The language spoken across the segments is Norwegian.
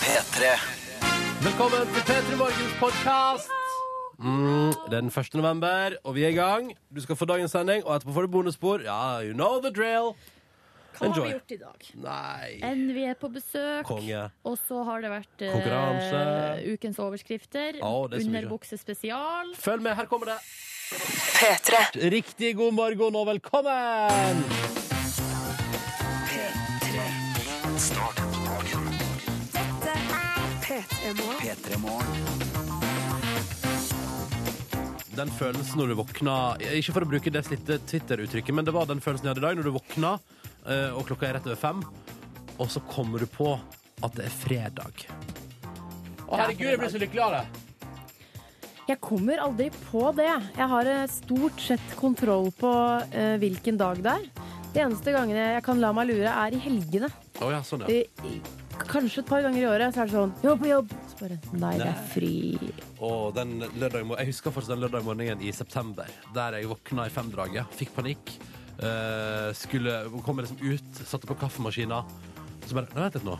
P3. Velkommen til P3 Morgens podkast. Mm, det er den 1. november, og vi er i gang. Du skal få dagens sending, og etterpå får du bonusspor. Ja, you know the drill. Hva har Enjoy. vi gjort i dag? Nei. Enn vi er på besøk, Konge. og så har det vært eh, Konkurranse. ukens overskrifter. Å, det er så mye. Underbuksespesial. Følg med, her kommer det. Riktig god morgen og velkommen! P3 Morgen. Den følelsen når du våkna Ikke for å bruke det slitte Twitter-uttrykket, men det var den følelsen jeg hadde i dag når du våkna, eh, og klokka er rett over fem, og så kommer du på at det er fredag. Å, herregud, jeg blir så lykkelig av det. Jeg kommer aldri på det. Jeg har eh, stort sett kontroll på eh, hvilken dag det er. De eneste gangene jeg kan la meg lure, er i helgene. Å ja, sånn, ja. I- i- Kanskje et par ganger i året så er det sånn Jobb, jobb! Så bare Nei, det er fri. Og den lørdag, jeg husker fortsatt den lørdag morgenen i september, der jeg våkna i femdraget, fikk panikk, eh, skulle komme liksom ut, satte på kaffemaskina, og så bare Nei, vent litt nå.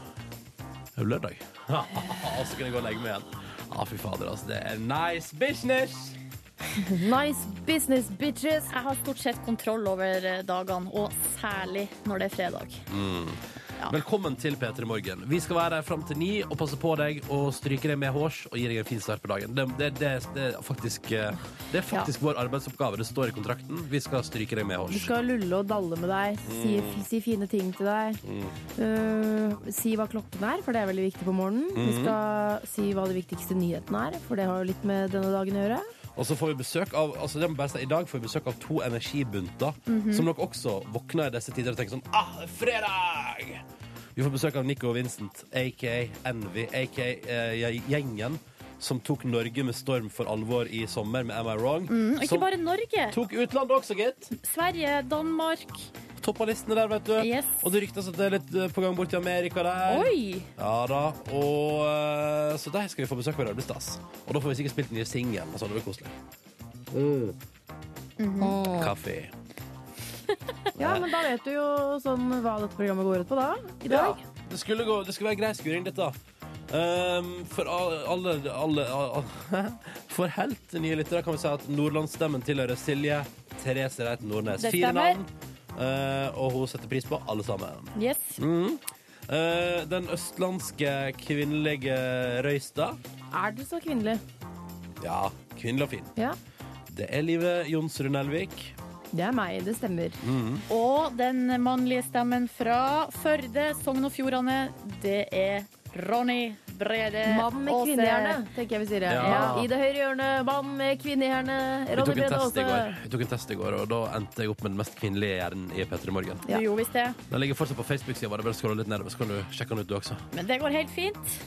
Det er jo lørdag. og så kunne jeg gå og legge meg igjen. Ja, fy fader, altså. Det er nice business! Nice business, bitches! Jeg har stort sett kontroll over eh, dagene, og særlig når det er fredag. Velkommen til P3 Morgen. Vi skal være her fram til ni og passe på deg og stryke deg med hårs og gi deg en fin start på dagen. Det, det, det, det er faktisk, eh, det er faktisk vår arbeidsoppgave. Det står i kontrakten. Vi skal stryke deg med Du hårs. skal lulle og dalle med deg, si, si fine ting til deg. Eh, si hva klokken er, for det er veldig viktig på morgenen. Vi skal si hva de viktigste nyhetene er, for det har jo litt med denne dagen å gjøre. Og så får vi besøk av altså det må jeg bare si, I dag får vi besøk av to energibunter Mhm. som nok også våkner i disse tider og tenker sånn Ah, fredag! Vi får besøk av Nico Vincent, aka Envy, aka eh, gjengen som tok Norge med storm for alvor i sommer med Am I Wrong? Og Mm, ikke som bare Norge. tok utlandet også, gitt. Sverige, Danmark. toppa listene der, vet du. Yes. Og det ryktes at det er litt eh, på gang bort til Amerika der. Oi! Ja da, og eh, Så der skal vi få besøk av Rødbli Stas. Og da får vi sikkert spilt den nye singelen. og sånn, Det blir koselig. Mm-hmm. Kaffe. Ja, men da vet du jo sånn hva dette programmet går ut på da. I dag. Det skulle, gå, det skulle være grei skuring, dette. Ehm, for al- alle, alle, al- For helt nye lyttere kan vi si at nordlandsstemmen tilhører Silje Therese Reiten Nordnes. Det Fire stemmer. navn. eh, og hun setter pris på alle sammen. Mm. Yes. Eh, den østlandske kvinnelige Røystad. Er du så kvinnelig? Ja, kvinnelig og fin. Ja. Det er livet Jonsrud Nelvik. Det er meg, det stemmer. Og den mannlige stemmen fra Førde, Sogn og Fjordane, det er Ronny Brede Mann med Aase. kvinnehjerne, tenker jeg vi sier. det. Ja. Ja. I det høyre hjørnet, mann med kvinnehjerne. Vi Ronny tok, en Brede test i går, Aase. vi tok en test i går, og da endte jeg opp med den mest kvinnelige hjernen i P3 Morgen. Du gjorde visst det. Den ligger fortsatt på Facebook-sida vår. Bare scroll litt nedover, så kan du sjekke den ut, du også. Men det går helt fint.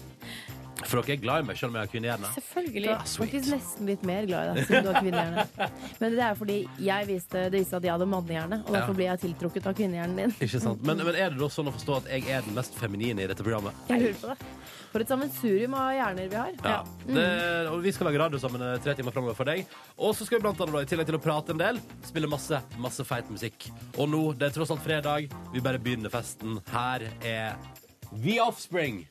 For dere er glad i meg, selv om jeg har kvinnehjerne. Selvfølgelig. Jeg Ja, er sweet. faktisk nesten litt mer glad i deg siden du har kvinnehjerne. Men det er fordi jeg viste, det viste at jeg hadde mannehjerne, og Ja. derfor ble jeg tiltrukket av kvinnehjernen din. Ikke sant? Men, men er det da sånn å forstå at jeg er den mest feminine i dette programmet? Jeg lurer på det. For et sammensurium av hjerner vi har. Ja. Det, og vi skal lage radio sammen eh, tre timer framover for deg. Og så skal vi blant annet, da, i tillegg til å prate en del, spille masse masse feit musikk. Og nå, det er tross alt fredag, vi bare begynner festen. Her er The Offspring.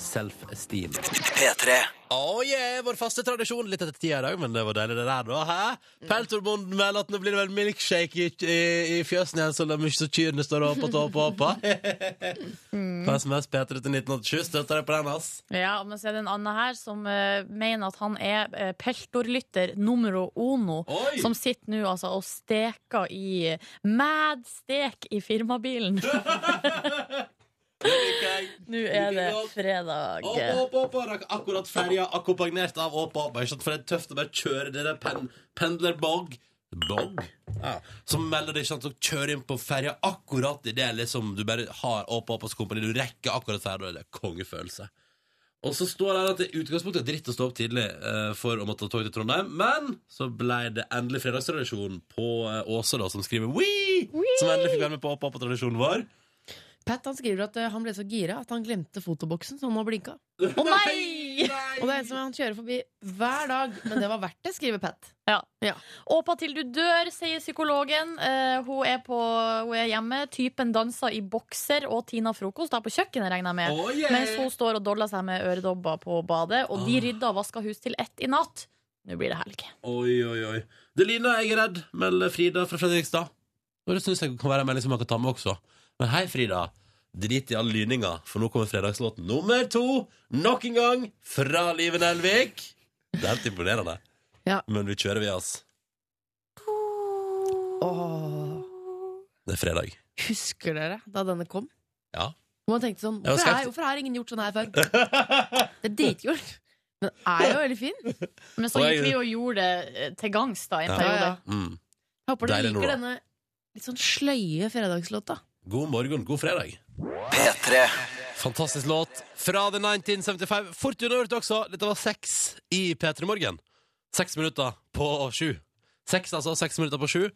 Self-esteem. P3. Oh yeah, vår faste tradisjon. Litt etter tida i dag, men det var deilig, det der, da. Mm. Hæ? Peltorbonden melder at nå blir det vel milkshake i, i, i fjøsen igjen, så la mye så kyrne står opp og tåper opp. På SMS P3 til 1987. Støtter deg på den, ass. Ja, men så er det en annen her som eh, mener at han er uh, peltorlytter numero uno, Oi! som sitter nå altså og steker i mad stek i firmabilen. nå er det fredag. Opp, opp, opp, og rakk akkurat ferja akkompagnert av opp, opp. Ikke sant, for det er tøft å bare kjøre det der pen, pendlerbog. Bog? Ja. Som melder det, ikke sant, så kjører inn på ferja akkurat i det liksom du bare har opp, opp hos kompani. Du rekker akkurat ferja, og det er kongefølelse. Og så står det her at det i utgangspunktet er dritt å stå opp tidlig eh, for å måtte ta tog til Trondheim, men så ble det endelig fredagstradisjon på eh, Åse, da, som skriver Wii! Som endelig fikk være med på opp, opp og tradisjonen vår. Pat han skriver at eh, han ble så gira at han glemte fotoboksen, så han må blinka. Å nei! Og det er en som han kjører forbi hver dag. Men det var verdt det, skriver Pat. Ja. Ja. Åpa til du dør, sier psykologen. Eh, hun, er på, hun er hjemme. Typen danser i bokser og Tina Frokost da, på kjøkkenet, regner jeg med. Oh, yeah. Mens hun står og doller seg med øredobber på badet, og de Ah. rydda og vaska hus til ett i natt. Nå blir det helg. Oi, oi, oi. Det Lina jeg er redd, melder Frida fra Fredrikstad. Og det syns jeg kan være en melding som man kan ta med også. Men hei, Frida. Drit i all lyninga, for nå kommer fredagslåten nummer to. Nok en gang fra Liven Elvik. Det er helt imponerende. Ja. Men vi kjører, vi, altså. ass. Åh. Det er fredag. Husker dere da denne kom? Ja. Og man tenkte sånn Jeg var Hvorfor skeptisk. har, hvorfor har ingen gjort sånn her før? Det er dritkult. Men er jo veldig fin. Men så Og gikk jeg- vi og gjorde det eh, til gangs da, i en Ja. periode. Ja, ja. Mm. Jeg Håper dere Deilig liker Nora. denne litt sånn sløye fredagslåta. God morgen, god fredag. P3 Fantastisk låt fra The 1975. Fort unnagjort også. Dette var seks i P3 Morgen. Seks minutter på sju. Seks, altså. Seks minutter på sju.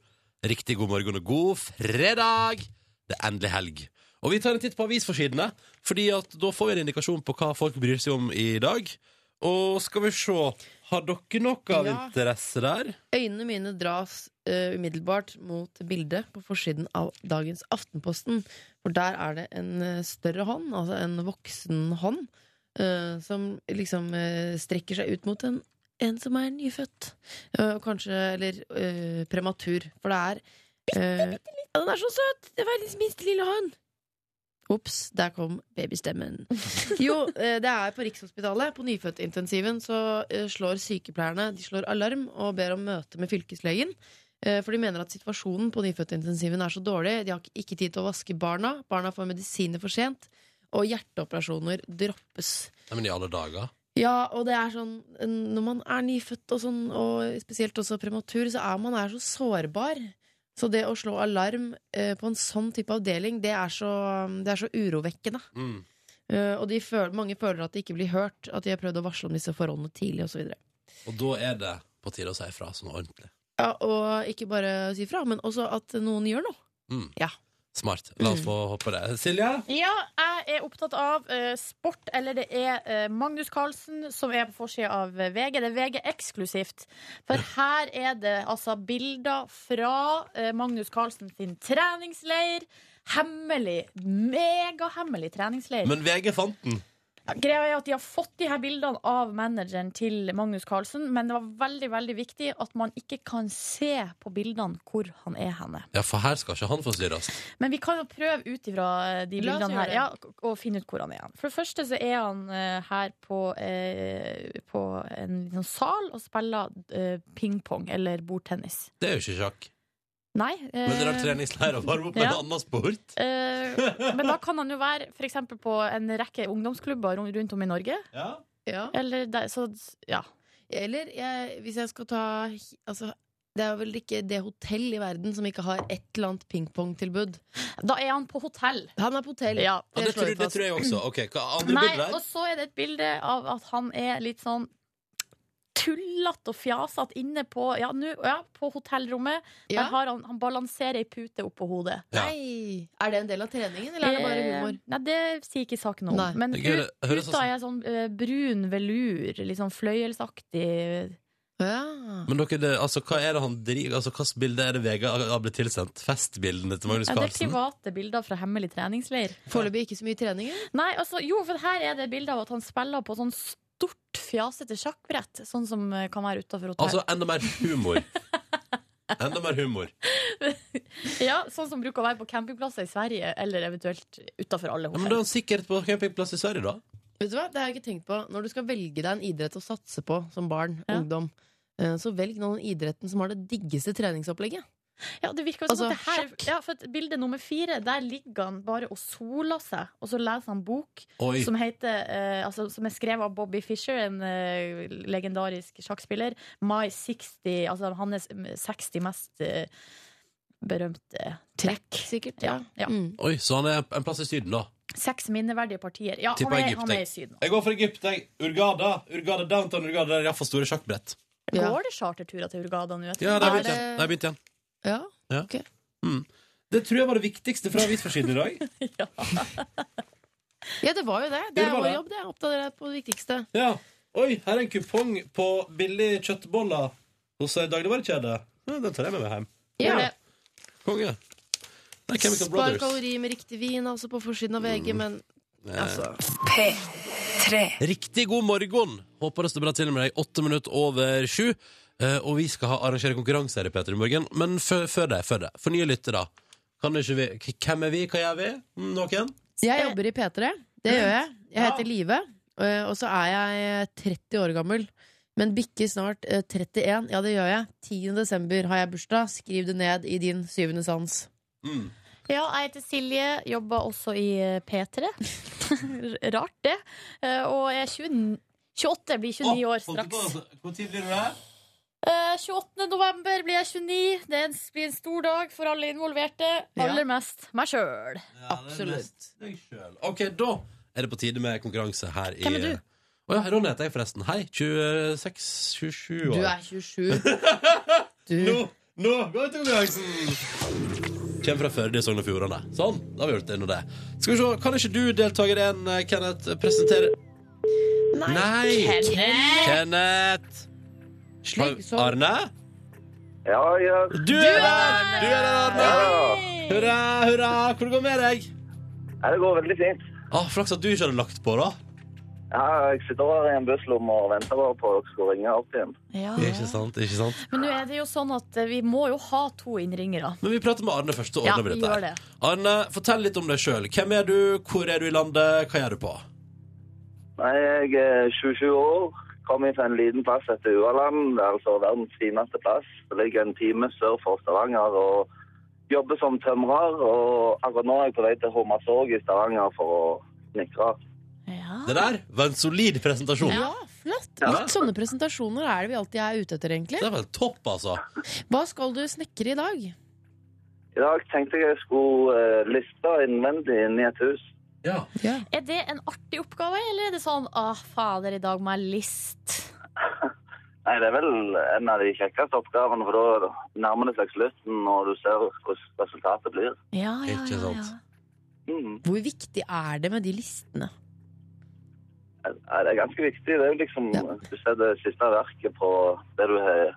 Riktig god morgen og god fredag! Det er endelig helg. Og vi tar en titt på avisforsidene, Fordi at da får vi en indikasjon på hva folk bryr seg om i dag. Og skal vi se Har dere noe av Ja. interesse der? Øynene mine dras eh, umiddelbart mot bildet på forsiden av dagens Aftenposten. For der er det en eh, større hånd, altså en voksen hånd, eh, som liksom eh, strekker seg ut mot en, en som er nyfødt. Eh, og kanskje Eller eh, prematur. For det er eh, ja, Den er så søt! Det er verdens minste lille hånd! Ops, der kom babystemmen. Jo, eh, det er på Rikshospitalet. På nyfødtintensiven så eh, slår sykepleierne De slår alarm og ber om møte med fylkeslegen. eh, For de mener at situasjonen på nyfødtintensiven er så dårlig. De har ikke- ikke tid til å vaske barna. Barna får medisiner for sent. Og hjerteoperasjoner droppes. Nei, men i alle dager. Ja, og det er sånn eh, Når man er nyfødt og sånn, og spesielt også prematur, så er man er så sårbar. Så det å slå alarm eh, på en sånn type avdeling, det er så, det er så urovekkende. Mm. Eh, og de føl mange føler at de ikke blir hørt, at de har prøvd å varsle om disse forholdene tidlig osv. Og da er det på tide å si ifra sånn ordentlig. Ja, og ikke bare si fra, men også at noen gjør noe. Mm. Ja. Smart. La oss få håpe det. Silje? Ja, jeg er opptatt av eh, sport, eller det er eh, Magnus Carlsen som er på forsida av eh, VG. Det er VG eksklusivt. For her er det altså bilder fra eh, Magnus Carlsen sin treningsleir. Hemmelig, megahemmelig treningsleir. Men VG fant den. Greia er at De har fått de her bildene av manageren til Magnus Carlsen, men det var veldig veldig viktig at man ikke kan se på bildene hvor han er henne. Ja, for her skal ikke han forstyrres. Men vi kan jo prøve ut ifra eh, de La oss bildene gjøre her det. ja, og- og finne ut hvor han er. For det første så er han eh, her på, eh, på en liten sal og spiller eh, pingpong eller bordtennis. Det er jo ikke sjakk. Nei. eh, Men det er treningsleir og varme opp med Ja. en annen sport. eh, men da kan han jo være f.eks. på en rekke ungdomsklubber ron- rundt om i Norge. Ja. Ja. Eller der, så, ja. Eller jeg, hvis jeg skal ta altså, Det er vel ikke det hotell i verden som ikke har et eller annet pingpongtilbud. Da er han på hotell. Han er på hotell. Ja. det, slår tror, vi det fast. tror jeg også. Ok, hva andre Nei, bilder og her? så er det et bilde av at han er litt sånn tullete og fjasete inne på, ja, nå- ja, på hotellrommet. Ja. Der har han, han balanserer ei pute oppå hodet. Ja. Nei! Er det en del av treningen, eller er det bare humor? Eh, Nei, det sier ikke saken noe Nei. om. Men Det pu- hører- høres puta er sånn eh, brun velur, litt sånn fløyelsaktig. Ja. Men dere, det, altså, hva er det han driver Altså, hvilket bilde er det VG har blitt tilsendt? Festbildene til Magnus Ja, det er Carlsen? private bilder fra hemmelig treningsleir. Foreløpig ikke så mye trening. ja. Nei, altså, jo, for her er det bilde av at han spiller på sånn stort, fjasete sjakkbrett. Sånn som eh, kan være utafor hotell. Altså, enda mer humor. Enda mer humor. Ja, sånn som bruker å være på campingplasser i Sverige, eller eventuelt utafor alle Ja, men da er hotell. han sikkert på campingplass i Sverige, da. Vet du hva? Det har jeg ikke tenkt på. Når du skal velge deg en idrett å satse på som barn, Ja. ungdom, eh, så velg nå den idretten som har det diggeste treningsopplegget. Ja, det virker jo som Altså, at det her ja, for at Bilde nummer fire, der ligger han bare og soler seg, og så leser han bok Oi. som, heter, eh, altså, som er skrevet av Bobby Fischer, en eh, legendarisk sjakkspiller. My 60, altså hans eh, 60 mest eh, berømte trekk. Sikkert. Ja, ja. Mm. Oi, så han er en plass i Syden, da. Seks minneverdige partier. Ja, Tipper han er, Egypt, han jeg. er i Syden. Jeg går for Egypt, jeg. Urgada. Urgada, Downtown Urgada. Der er iallfall store sjakkbrett. Ja. Går det charterturer til Urgada nå? Ja, der Er begynte jeg. det- Der begynte jeg. Ja. Det tror jeg var det viktigste fra avisforsiden i dag. ja, det var jo det. Det det er var vår det. jobb, det. Oppdager jeg på det viktigste. Ja. Oi, her er en kupong på billig kjøttboller hos ei dagligvarekjede. Ja, den tar jeg med meg hjem. Gjør Ja. det. Konge. Det er Chemical Spar Brothers. Mm. Eh. kalori med riktig vin, altså på forsiden av VG, men altså P3. Riktig god morgen. Håper det står bra til med deg. Åtte minutter over sju. Eh, og vi skal ha arrangere konkurranse her i P3 Morgen. Men før, før det, før det. For nye lyttere. Kan ikke vi, k- hvem er vi? Hva gjør vi? Mm, Noen? Jeg jobber i P3. Det gjør jeg. Jeg heter Live, eh, og så er jeg 30 år gammel. Men bikker snart eh, 31. Ja, det gjør jeg. 10. desember har jeg bursdag. Skriv det ned i din syvende sans. Mm. Ja, jeg heter Silje, jobber også i eh, P3. Rart, det. Eh, Og jeg er 20, 28, blir 29 år altså? straks. Hvor tid blir du her? Eh, 28. november blir jeg 29. Det er en- blir en stor dag for alle involverte. Ja. Aller mest meg Ja, sjøl. det er Absolutt. mest deg selv. Ok, da er det på tide med konkurranse her i eh, Hvem er du? Å ja, Ronny heter jeg forresten. Hei. 26-27 år. Du er 27. Du, Nå, nå går konkurransen! Kjem fra Førde i Sogn og Fjordane. Sånn, da har vi gjort det nå det. Skal vi se, kan ikke du, deltaker 1, Kenneth, presentere Nei! Kenneth! Kenneth! slik sånn. Arne? Ja, ja. Du er her! Du er her, Arne! Hei! Hurra, hurra! Hvor går det med deg? Nei, det går veldig fint. Ah, Flaks at du ikke hadde lagt på, da. Ja, jeg sitter her i en busslomme og venter bare på at dere skal ringe opp igjen. Ja. Ikke sant, ikke sant? Men nå er det jo sånn at eh, vi må jo ha to innringere. Men vi prater med Arne først. så Ja, ordner vi vi dette. her. gjør det. Arne, fortell litt om deg sjøl. Hvem er du, hvor er du i landet, hva gjør du på? Nei, jeg er 27 år. Kommer fra en liten plass etter Ualand, altså verdens fineste plass. Det ligger en time sør for Stavanger og jobber som tømrer. Og akkurat nå er jeg på vei til Hommersorg i Stavanger for å snikre. Ja. Det der var en solid presentasjon. Ja, flott. Litt sånne presentasjoner er det vi alltid er ute etter, egentlig. Det var topp, altså. Hva skal du snekre i dag? I dag tenkte jeg jeg skulle eh, liste innvendig inn i et hus. Ja. Ja. Er det en artig oppgave, eller er det sånn ah, fader, i dag må jeg liste? Nei, det er vel en av de kjekkeste oppgavene, for da nærmer det seg slutten, og du ser hvordan resultatet blir. Ja, ja, Ikke ja, ja. sant. Mm. Hvor viktig er det med de listene? Nei, det er ganske viktig. Det er jo liksom Ja. Du ser det siste verket på det du har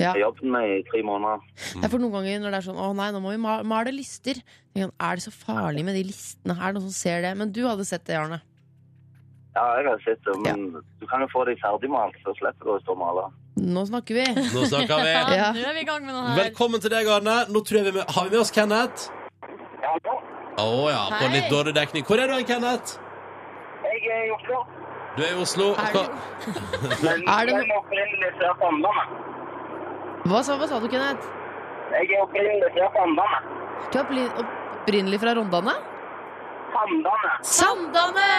Ja. har jobbet med i tre måneder. Mm. Det er for noen ganger når det er sånn Å nei, nå må vi ma- male lister Tenker jeg, Er det så farlig med de listene? Er det noen som ser det? Men du hadde sett det, Arne Ja, jeg har sett det, men du kan jo få det ferdigmalt, så slipper du å stå og male. Nå snakker vi Nå snakker vi. Ja, Ja. Nå er vi i gang med noe her. Velkommen til deg, Arne. Nå tror jeg vi med, Har vi med oss Kenneth? Ja, ja. Å ja, på Hei. litt dårlig dekning. Hvor er du hen, Kenneth? Jeg er i Oslo, Du er i Oslo. Er du- Hva- men Er det- er opprinnelig fra Sandane. Hva sa, hva sa du, Kenneth? Jeg er opprinnelig fra Sandane. Du er oppli- opprinnelig fra Rondane? Sandane. Sandane!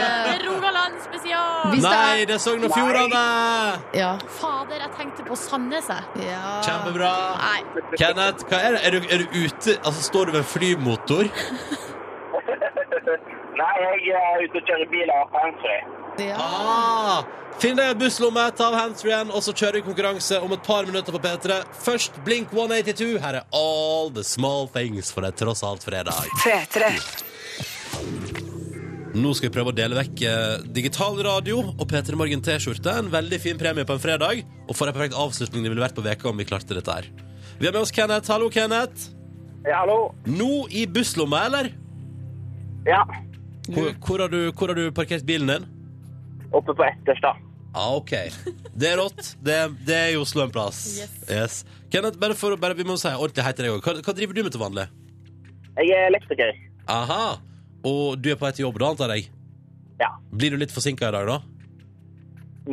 Eh, Rogaland spesial! Hvis det er- Nei, det er Sogn og Fjordane! Ja, Fader, jeg tenkte på Sandnes, jeg. ja. Kjempebra. Nei. Kenneth, hva er det? Er du, er du ute? Altså, står du ved en flymotor? Nei, jeg eh, er ute og kjører bil av Hansfrey. ja. Ah, finn deg en busslomme, ta av handsfree-en, og så kjører vi konkurranse om et par minutter på P3. Først Blink 182. Her er All the Small Things, for det er tross alt fredag. P3. Nå skal vi prøve å dele vekk eh, digital radio og P3 Morgen T-skjorte. En veldig fin premie på en fredag. Og for en perfekt avslutning det ville vært på veka om vi klarte dette her. Vi har med oss Kenneth. Hallo, Kenneth. Ja, hallo. Nå i busslomma, eller? Ja, Hvor, hvor, har du, hvor har du parkert bilen din? oppe på Etterstad. Ja, Ah, ok. Det er rått. Det, det er i Oslo en plass. Yes. Kenneth, bare for, å- bare, vi må si ordentlig hei til deg også. Hva, hva driver du med til vanlig? Jeg er elektriker. Aha. Og du er på vei til jobb, da, antar jeg? Ja. Blir du litt forsinka i dag, da?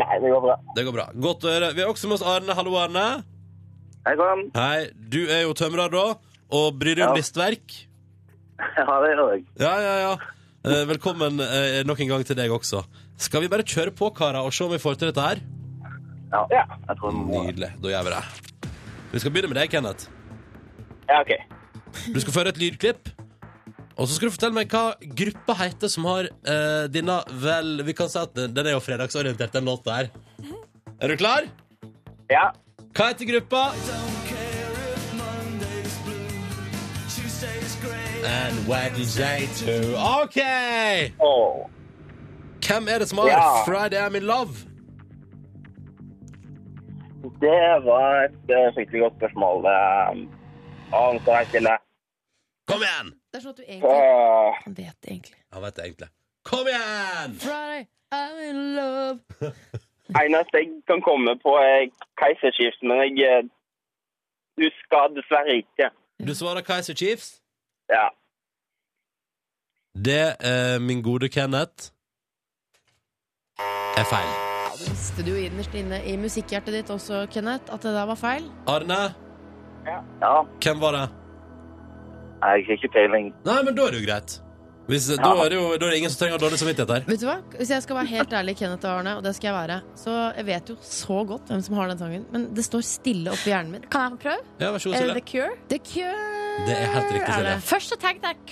Nei, det går bra. Det går bra. Godt å høre. Vi har også med oss Arne. Hallo, Arne. Hei sann. Hei. Du er jo tømrer, da, og bryr deg om Ja. listverk. Ja, det gjør jeg. Ja, ja, ja. Eh, Velkommen eh, nok en gang til deg også. Skal vi bare kjøre på, karer, og se om vi får til dette her? Ja, jeg tror vi må Nydelig. Da gjør vi det. Vi skal begynne med deg, Kenneth. Ja, OK. Du skal føre et lydklipp. Og så skal du fortelle meg hva gruppa heter som har eh, denne vel Vi kan si at den, den er jo fredagsorientert, den låta her. Er du klar? Ja. Hva heter gruppa? And Wednesday too. OK! Åh. Hvem er det som har Ja. Friday I'm in love? Det var et eh, skikkelig godt spørsmål. Eh, Annet er ikke lett. Kom igjen! Det er sånn at du egentlig Eh, Han vet det egentlig. Han vet det egentlig. Kom igjen! Friday, I'm in love. Eneste jeg kan komme på, er keiserskift, men jeg eh, husker dessverre ikke. Du svarer Kaiser Chiefs. Ja. Det, eh, min gode Kenneth, er feil. Ja, det visste du jo innerst inne i musikkhjertet ditt også, Kenneth, at det der var feil. Arne, ja. hvem var det? Nei, Jeg har ikke peiling. Nei, men da er det jo greit. Hvis, da, er det jo, da er det ingen som trenger dårlig samvittighet her. Vet du hva? Hvis jeg skal være helt ærlig, Kenneth og Arne, og det skal jeg være, så jeg vet jo så godt hvem som har den sangen, men det står stille oppi hjernen min. Kan jeg få prøve? Ja, vær så god, Er det Silje. The Cure? The Cure! Det er helt riktig, er Silje. det. Først så tenkte jeg Det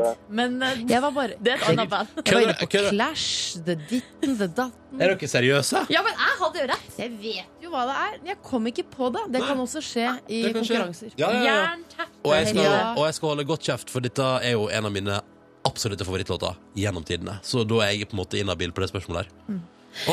var det. men eh, Jeg var bare det er et annet band. Jeg var Kødder- inne på kødder- Clash, The Ditten, The Datten. Er dere seriøse? Ja, men jeg hadde jo rett! Jeg vet jo hva det er, men jeg kom ikke på det. Det kan også skje i Det kan skje. konkurranser. Ja, ja, ja. Jernteppe. Og jeg, skal, Ja. og jeg skal holde godt kjeft, for dette er jo en av mine absolutte favorittlåter gjennom tidene. Så da er jeg på en måte inhabil på det spørsmålet der.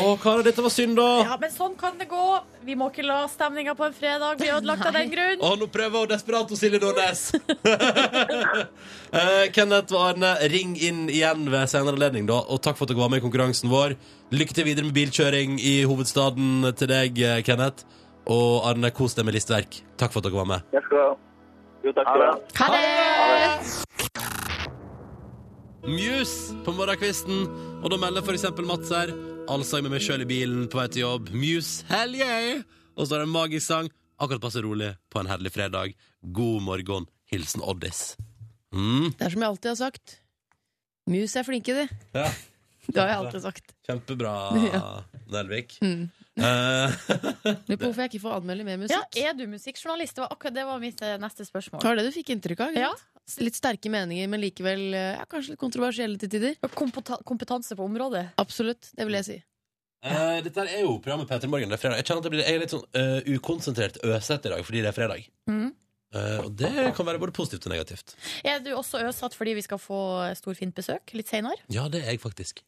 Å, Kara, dette var synd, da! Ja, men sånn kan det gå. Vi må ikke la stemninga på en fredag bli ødelagt av den grunn. Å, nå prøver hun desperat å Silje Nordnes! Eh, Kenneth og Arne, ring inn igjen ved senere anledning, da. Og takk for at dere var med i konkurransen vår. Lykke til videre med bilkjøring i hovedstaden til deg, eh, Kenneth. Og Arne, kos deg med listverk. Takk for at dere var med. Jeg skal... Jo, takk skal du ha. Ha det! Muse på morgenkvisten. Og da melder f.eks. Mats her allsang med meg sjøl i bilen på vei til jobb. Muse, hell yeah! Og så er det en magisk sang. Akkurat passe rolig på en herlig fredag. God morgen. Hilsen Oddis. Mm. Det er som jeg alltid har sagt. Mus er flinke, de. Ja, Det har jeg alltid sagt. kjempebra, Nelvik. Mm. Eh, Lurer på hvorfor jeg ikke får anmelde mer Ja, musikk. er du musikkjournalist? Det var akkurat det var mitt eh, neste Det spørsmål. var det du fikk inntrykk av. ikke Ja. sant? Litt sterke meninger, men likevel eh, ja, kanskje litt kontroversielle til tider. Kompota- Kompetanse på området. Absolutt, det vil jeg si. eh, dette her er jo programmet Peter Morgen. Det er fredag. Jeg kjenner at jeg, blir, jeg er litt sånn eh, ukonsentrert øsete i dag fordi det er fredag. Mhm. Eh, og det kan være både positivt og negativt. Er du også øsatt fordi vi skal få storfint besøk litt seinere? Ja, det er jeg faktisk.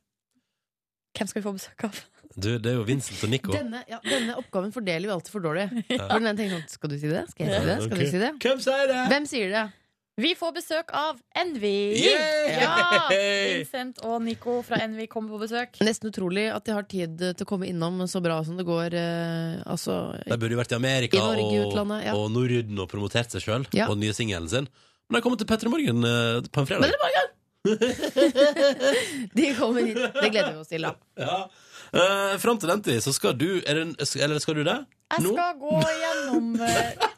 Hvem skal vi få besøk av? Du, det er jo Vincent og Nico. Denne, ja, denne oppgaven fordeler vi alltid for dårlig. Ja. For den ene tenker sånn Skal du si det? Skal jeg si det? Skal Ok. du si det? Hvem sier det? Hvem sier det? Vi får besøk av Envy! Yay! Ja! Vincent og Nico fra Envy kommer på besøk. Nesten utrolig at de har tid til å komme innom så bra som det går. Eh, altså, De burde jo vært i Amerika I Norge, og, utlandet, ja. og Norden og promotert seg sjøl Ja. og den nye singelen sin. Men de kommer til Petter i Morgen eh, på en fredag. de kommer hit. Det gleder vi oss til, da. Ja. Eh, Fram til den tid så skal du er det, en- Eller skal du det? Jeg Nå? skal gå gjennom eh,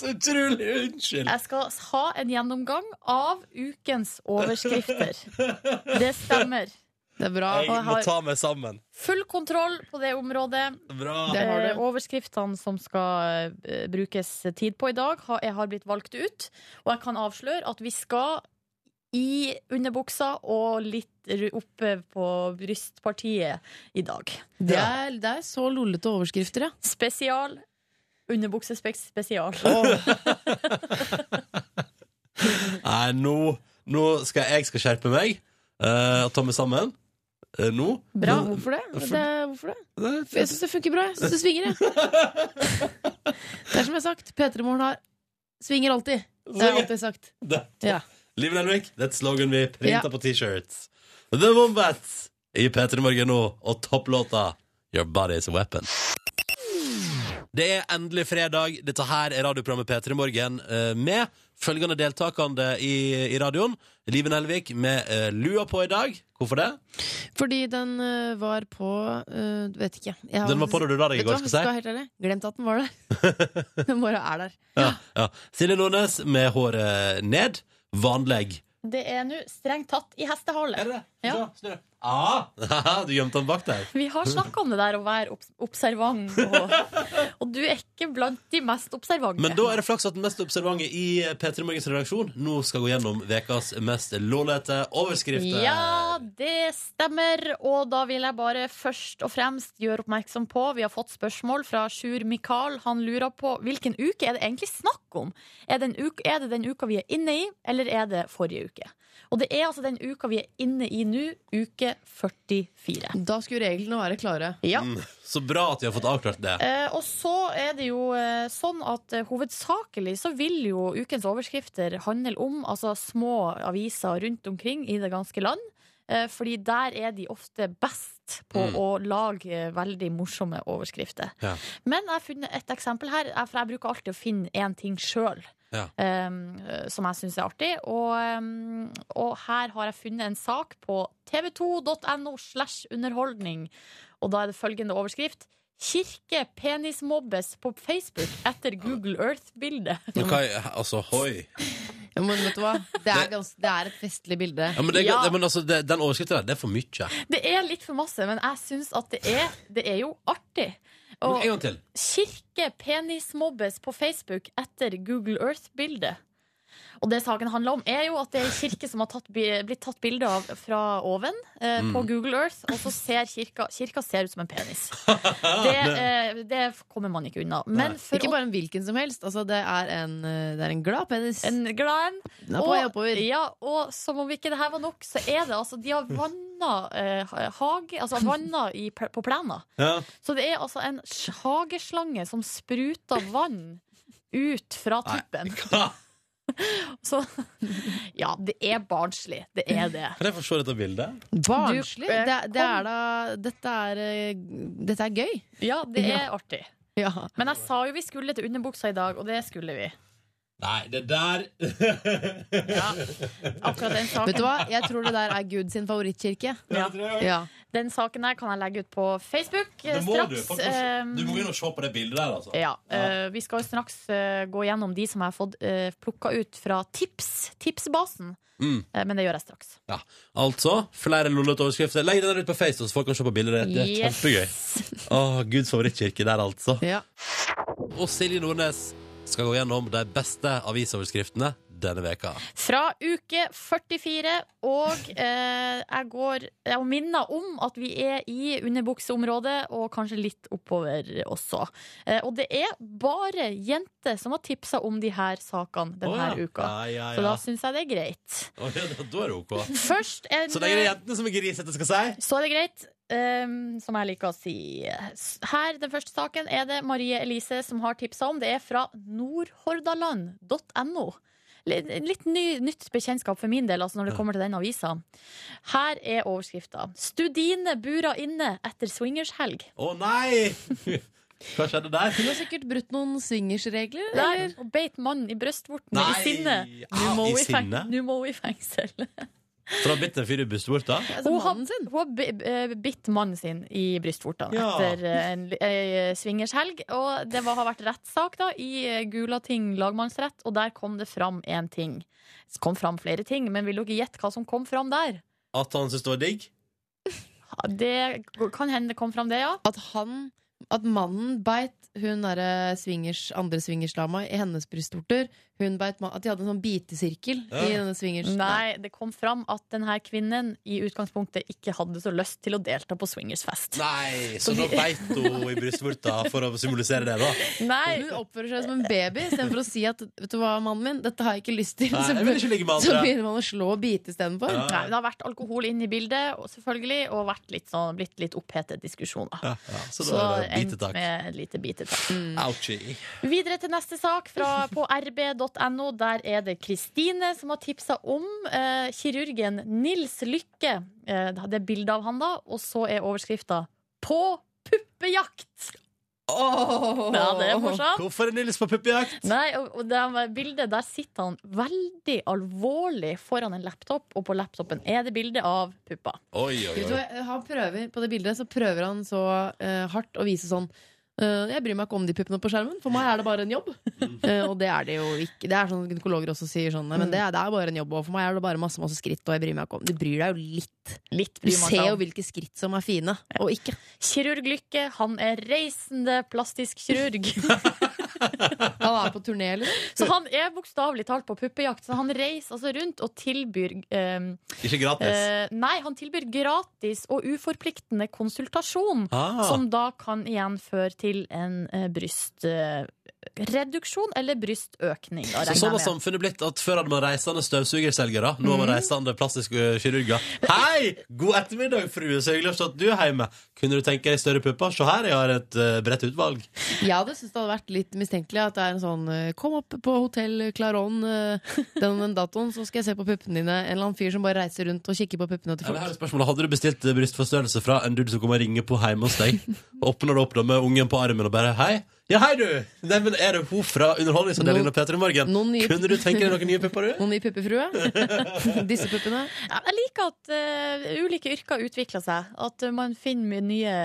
Så utrolig unnskyld! Jeg skal ha en gjennomgang av ukens overskrifter. Det stemmer. Det er bra. Jeg og jeg må har- ta meg sammen. Full kontroll på det området. Bra. Det har Eh, du. overskriftene som skal eh, brukes tid på i dag, har, jeg har blitt valgt ut. Og jeg kan avsløre at vi skal i underbuksa og litt ru- oppe på brystpartiet i dag. Det er, det er så lollete overskrifter, ja. Spesial. Underbuksespeks spesial. Nei, nå, nå skal jeg skal skjerpe meg eh, og ta meg sammen. Eh, nå. Bra. Nå- Hvorfor det? Hvorfor- det, er- hvorfor det? Nei, for- Jeg syns det funker bra. Jeg syns det svinger, jeg. Det er som jeg har sagt, P3 Morgen har Svinger alltid. Det har jeg alltid sagt. Det. Ja. Liv Nelvik, det er et slogan vi printer Ja. på T-shirts. The Wombats i P3 Morgen nå, og topplåta Your Body Is A Weapon. Det er endelig fredag. Dette her er radioprogrammet P3 Morgen eh, med følgende deltakende i, i radioen. Live Nelvik med eh, lua på i dag. Hvorfor det? Fordi den eh, var på eh, Vet ikke. Jeg har- Den var på da du la deg i Vet du går, hva, skal jeg si. være helt ærlig. Glemt at den var der. Den bare er der. Ja, ja. Silje Nordnes med håret ned. Vanlegg. Det er nå strengt tatt i hestehale. det? Ja. Snø. Ah, du gjemte den bak der. Vi har snakka om det der å være obs- observant, og, og du er ikke blant de mest observante. Men da er det flaks at den mest observante i P3 Morgens redaksjon nå skal gå gjennom ukas mest lålete overskrifter. Ja, det stemmer. Og da vil jeg bare først og fremst gjøre oppmerksom på Vi har fått spørsmål fra Sjur Mikael. Han lurer på hvilken uke er det egentlig snakk om? Er det, en uke, er det den uka vi er inne i, eller er det forrige uke? Og det er altså den uka vi er inne i nå, uke 44. Da skulle reglene være klare. Ja. Mm, Så bra at vi har fått avklart det. Eh, og så er det jo eh, sånn at eh, hovedsakelig så vil jo ukens overskrifter handle om altså, små aviser rundt omkring i det ganske land. Eh, fordi der er de ofte best på Mm. å lage eh, veldig morsomme overskrifter. Ja. Men jeg har funnet et eksempel her, eh, for jeg bruker alltid å finne én ting sjøl. Ja. som jeg syns er artig. Og, eh, og her har jeg funnet en sak på tv2.no slash underholdning. Og da er det følgende overskrift. Kirke penismobbes på Facebook etter Google Earth-bildet. Men hva er- altså, hoi. Ja, men vet du hva? Det er, Det- gans, det er et festlig bilde. Ja, men det, Ja. det- men altså, det, den overskriften der, det er for mye. Det er litt for masse, men jeg syns at det er, det er jo artig. Men Og en gang til. kirke penismobbes på Facebook etter Google Earth-bildet. Og det saken handler om, er jo at det er en kirke som har tatt, bi- blitt tatt bilde av fra oven eh, Mm. på Google Earth, og så ser kirka, kirka ser ut som en penis. Ah, Det, eh, det kommer man ikke unna. Men for Ikke å, bare en hvilken som helst. Altså, det, er en, eh, det er en glad penis. en glad en Den er på vei oppover. Ja, og som om ikke det her var nok, så er det altså De har vanna eh, hage Altså vanna i, på plena. Ja. Så det er altså en sj- hageslange som spruter vann ut fra Nei. tuppen. Kan Så ja, det er barnslig. Det er det. jeg få se dette bildet? Barnslig. Du, eh, Det, det kom. er da, dette, er, eh, dette er gøy. Ja, det Ja. er artig. Ja. Men jeg sa jo vi skulle til underbuksa i dag, og det skulle vi. Nei, det der Ja. Akkurat den Vet du saken, hva? Jeg tror det der er Gud sin favorittkirke. Ja. Det Ja. den saken der kan jeg legge ut på Facebook eh, må du. straks. faktisk. Du eh, må gå inn og se på det bildet der, altså. Ja, eh, Vi skal jo straks eh, gå gjennom de som jeg har fått uh, plukka ut fra tips, tipsbasen. Mm. Eh, men det gjør jeg straks. Ja. Altså, flere lollete overskrifter. Legg den der ut på Face, så folk kan se på bildet. Det er Yes. kjempegøy. Åh, Guds favorittkirke der, altså. Ja. Og Silje Nordnes skal gå gjennom de beste avisoverskriftene denne veka. Fra uke 44, og eh, jeg går Jeg minner om at vi er i underbukseområdet, og kanskje litt oppover også. Eh, og det er bare jenter som har tipsa om de her sakene denne Å, ja. uka. Ja, ja, Så da ja. syns jeg det er greit. Å, ja, da da er det OK. Først en Så lenge det er jentene som er grisete, skal jeg si. Så er det greit, ehm, som jeg liker å si. Her, den første saken, er det Marie Elise som har tipsa om. Det er fra nordhordaland.no. Litt, litt ny, nytt bekjentskap for min del altså når det kommer til den avisa. Her er overskrifta. 'Studine bura inne etter swingershelg'. Å nei! Hva skjedde der? Du har sikkert brutt noen swingersregler. Der, og beit mannen i brystvorten i Nei! sinne. Nå Ah, må i hun i feng- sinne? Nå må hun i fengsel. For da bytte en fyr i bussbort, da? Altså, Hun har, mannen sin. hun har bi- eh, bitt mannen sin i brystvortene Ja. etter eh, en li- eh, swingershelg. Og det var, har vært rettssak da, i eh, Gulating lagmannsrett, og der kom det fram én ting. Det kom fram flere ting, men vil dere gjette hva som kom fram der? At han syntes det var digg? Ja, Det kan hende det kom fram det, ja. At han At mannen beit hun derre swingers, andre swingerslama i hennes brystvorter. Hun beit ma- At de hadde en sånn bitesirkel Ja. i denne swingers... Nei, det kom fram at denne kvinnen i utgangspunktet ikke hadde så lyst til å delta på swingersfest. Nei, så nå beit hun i brystvorta for å symbolisere det, da? Nei, Hun oppfører seg som en baby istedenfor å si at Vet du hva, mannen min, dette har jeg ikke lyst til. Nei, så, jeg vil ikke ligge med så andre. begynner man å slå og bite istedenfor. Ja. Nei, det har vært alkohol inn i bildet, og selvfølgelig, og vært litt sånn, blitt litt opphetet diskusjoner. Ja, ja, så Så da er det endt bitetak. med et lite bitetak. Mm. Ouchie. Videre til neste sak fra, på rb.no. Der er det Kristine som har tipsa om eh, kirurgen Nils Lykke. Eh, det er bilde av han, da. Og så er overskrifta 'På puppejakt'! Ja, det er morsomt. Hvorfor er Nils på puppejakt? Nei, og, og det er bildet, Der sitter han veldig alvorlig foran en laptop, og på laptopen er det bilde av puppa. Oi, oi, Vet du oi. hva, eh, Han prøver På det bildet så prøver han så eh, hardt å vise sånn eh, Jeg bryr meg ikke om de puppene på skjermen, for meg er det bare en jobb. Eh, og det er det jo ikke. Det er sånn gynekologer også sier sånn. «Nei, Men det er, det er bare en jobb, og for meg er det bare masse masse skritt. Og jeg bryr meg ikke om Du bryr deg jo litt. Litt Du bryr man ser seg jo om. hvilke skritt som er fine, og ikke. Kirurg Lykke, han er reisende plastisk kirurg. Han er på turné, liksom. Så han er bokstavelig talt på puppejakt. Så han reiser altså rundt og tilbyr eh, Ikke gratis. eh, Nei, han tilbyr gratis og uforpliktende konsultasjon. Ah, Som da kan igjen føre til en eh, bryst... Eh, brystreduksjon eller brystøkning. Da, Så regner sånn har jeg med. samfunnet blitt at før hadde man reisende støvsugerselgere. Nå har man reisende plastiske kirurger. Hei! God ettermiddag, frue. Så hyggelig å se at du er hjemme. Kunne du tenke deg større pupper? Se her, jeg har et eh, bredt utvalg. Jeg hadde syntes det hadde vært litt mistenkelig at det er en sånn eh, Kom opp på hotell Claron eh, den og den datoen, så skal jeg se på puppene dine. En eller annen fyr som bare reiser rundt og kikker på puppene til Ja, men her folk. er spørsmålet. Hadde du bestilt eh, brystforstørrelse fra en dude som kommer og ringer på hjemme hos deg? Og Åpner du opp da med ungen på armen og bare 'Hei'? Ja, hei, du! Neimen, er det hun fra Underholdningsavdelingen Noen- og Peter i Morgen? noen nye- Kunne du tenke deg noen nye pupper, du? Noen nye puppefrue? Disse puppene. Ja, jeg liker at eh, ulike yrker utvikler seg. At eh, man finner mye nye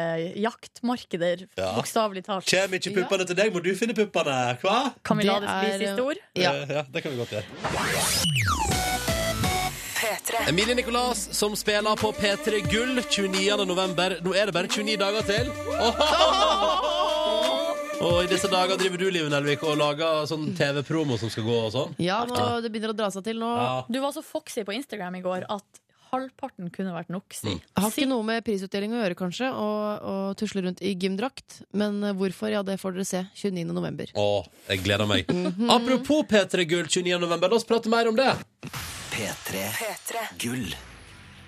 jaktmarkeder, Ja. bokstavelig talt. Kjem ikke puppene til deg, må du finne puppene, hva? Kan vi la Det det bli er, eh, siste ord? Ja. Eh, ja, det kan vi godt gjøre. Emilie Nicolas som spiller på P3 Gull 29. november. Nå er det bare 29 dager til. Og i disse dager driver du, Live Nelvik, og lager sånn TV-promo som skal gå og sånn. Ja, nå, det begynner å dra seg til nå. Ja. Du var så foxy på Instagram i går at halvparten kunne vært nok, Mm. si. Det har si ikke noe med prisutdeling å gjøre, kanskje, å å tusle rundt i gymdrakt. Men eh, hvorfor, ja, det får dere se 29. november. Å, jeg gleder meg. Apropos P3 Gull 29. november, la oss prate mer om det. P3 Gull.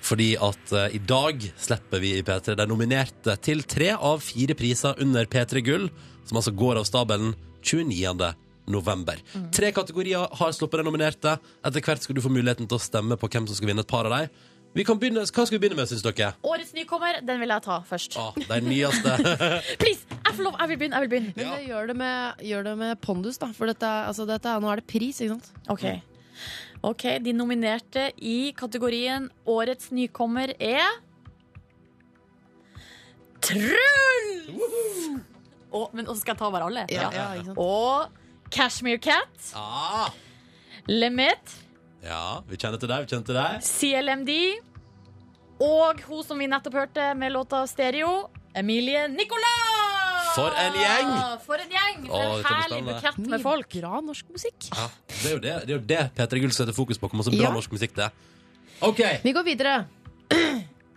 Fordi at eh, i dag slipper vi i P3 de nominerte til tre av fire priser under P3 Gull, som altså går av stabelen 29. november. Tre kategorier har sluppet de nominerte. Etter hvert skal du få muligheten til å stemme på hvem som skal vinne et par av dem. Vi kan begynne, hva skal vi begynne med, syns dere? Årets nykommer, den vil jeg ta først. Ah, de nyeste. Please! Jeg får lov, jeg vil begynne! jeg vil begynne Men det gjør det med, gjør det med pondus, da. For dette, er- altså, dette, er- nå er det pris, ikke sant? Ok. Ok, De nominerte i kategorien Årets nykommer er Truls! Og, men også skal jeg ta bare alle? Ja, ja, ikke sant? Og Cashmere Cat, ah, Lemet, ja, vi kjenner til deg, vi kjenner til deg. CLMD og hun som vi nettopp hørte med låta Stereo, Emilie Nicolas! For en gjeng! For en gjeng! For Å, dette en blir herlig spennende. bukett Mye med folk. Bra norsk musikk. Ja, det er jo det, det, er jo det P3 Gull setter fokus på. Hvor masse bra Ja. norsk musikk det er. OK. Vi går videre.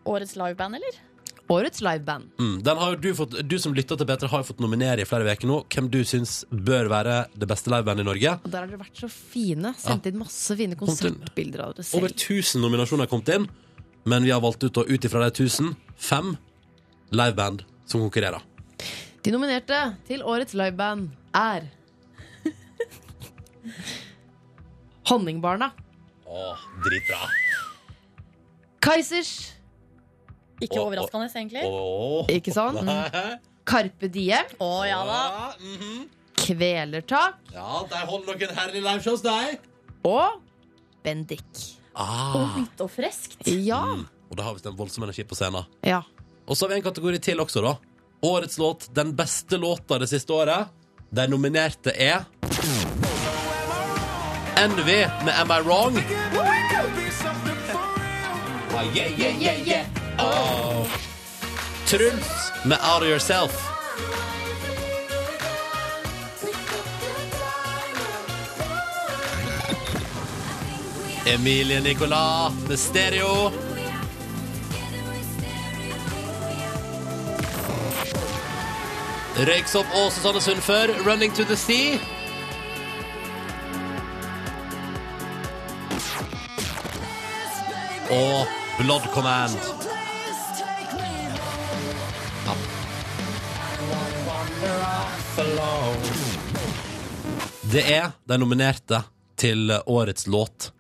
Årets liveband, eller? Årets liveband. Mm, den har jo du, fått, du som lytter til P3 har jo fått nominere i flere uker nå hvem du syns bør være det beste livebandet i Norge. Og der har dere vært så fine. Sendt inn masse fine til- konsertbilder av dere selv. Over 1000 nominasjoner har kommet inn, men vi har valgt ut, og ut ifra de 1000, fem liveband som konkurrerer. De nominerte til årets liveband er Honningbarna, Å, dritbra. Kaizers, Ikke Å, å, overraskende, egentlig. Å Åh. ikke sant? Carpe Diem, ja da. Kvelertak mhm. Ja, de holder noen herlige liveshows, de. og Bendik. Ah. Nytt og friskt. Ja. Og da har vi en voldsom energi på scenen. ja. Og så har vi en kategori til også, da. Årets låt, den beste låta det siste året. De nominerte er NV med Am I Wrong? Ah, yeah, yeah, yeah, yeah. Oh. Truls med Out of Yourself. Emilie Nicolas med Stereo. Røyksopp og Susanne Sundfør, 'Running to the Sea'. Og Blood Command. Ja. Det er de nominerte til årets låt.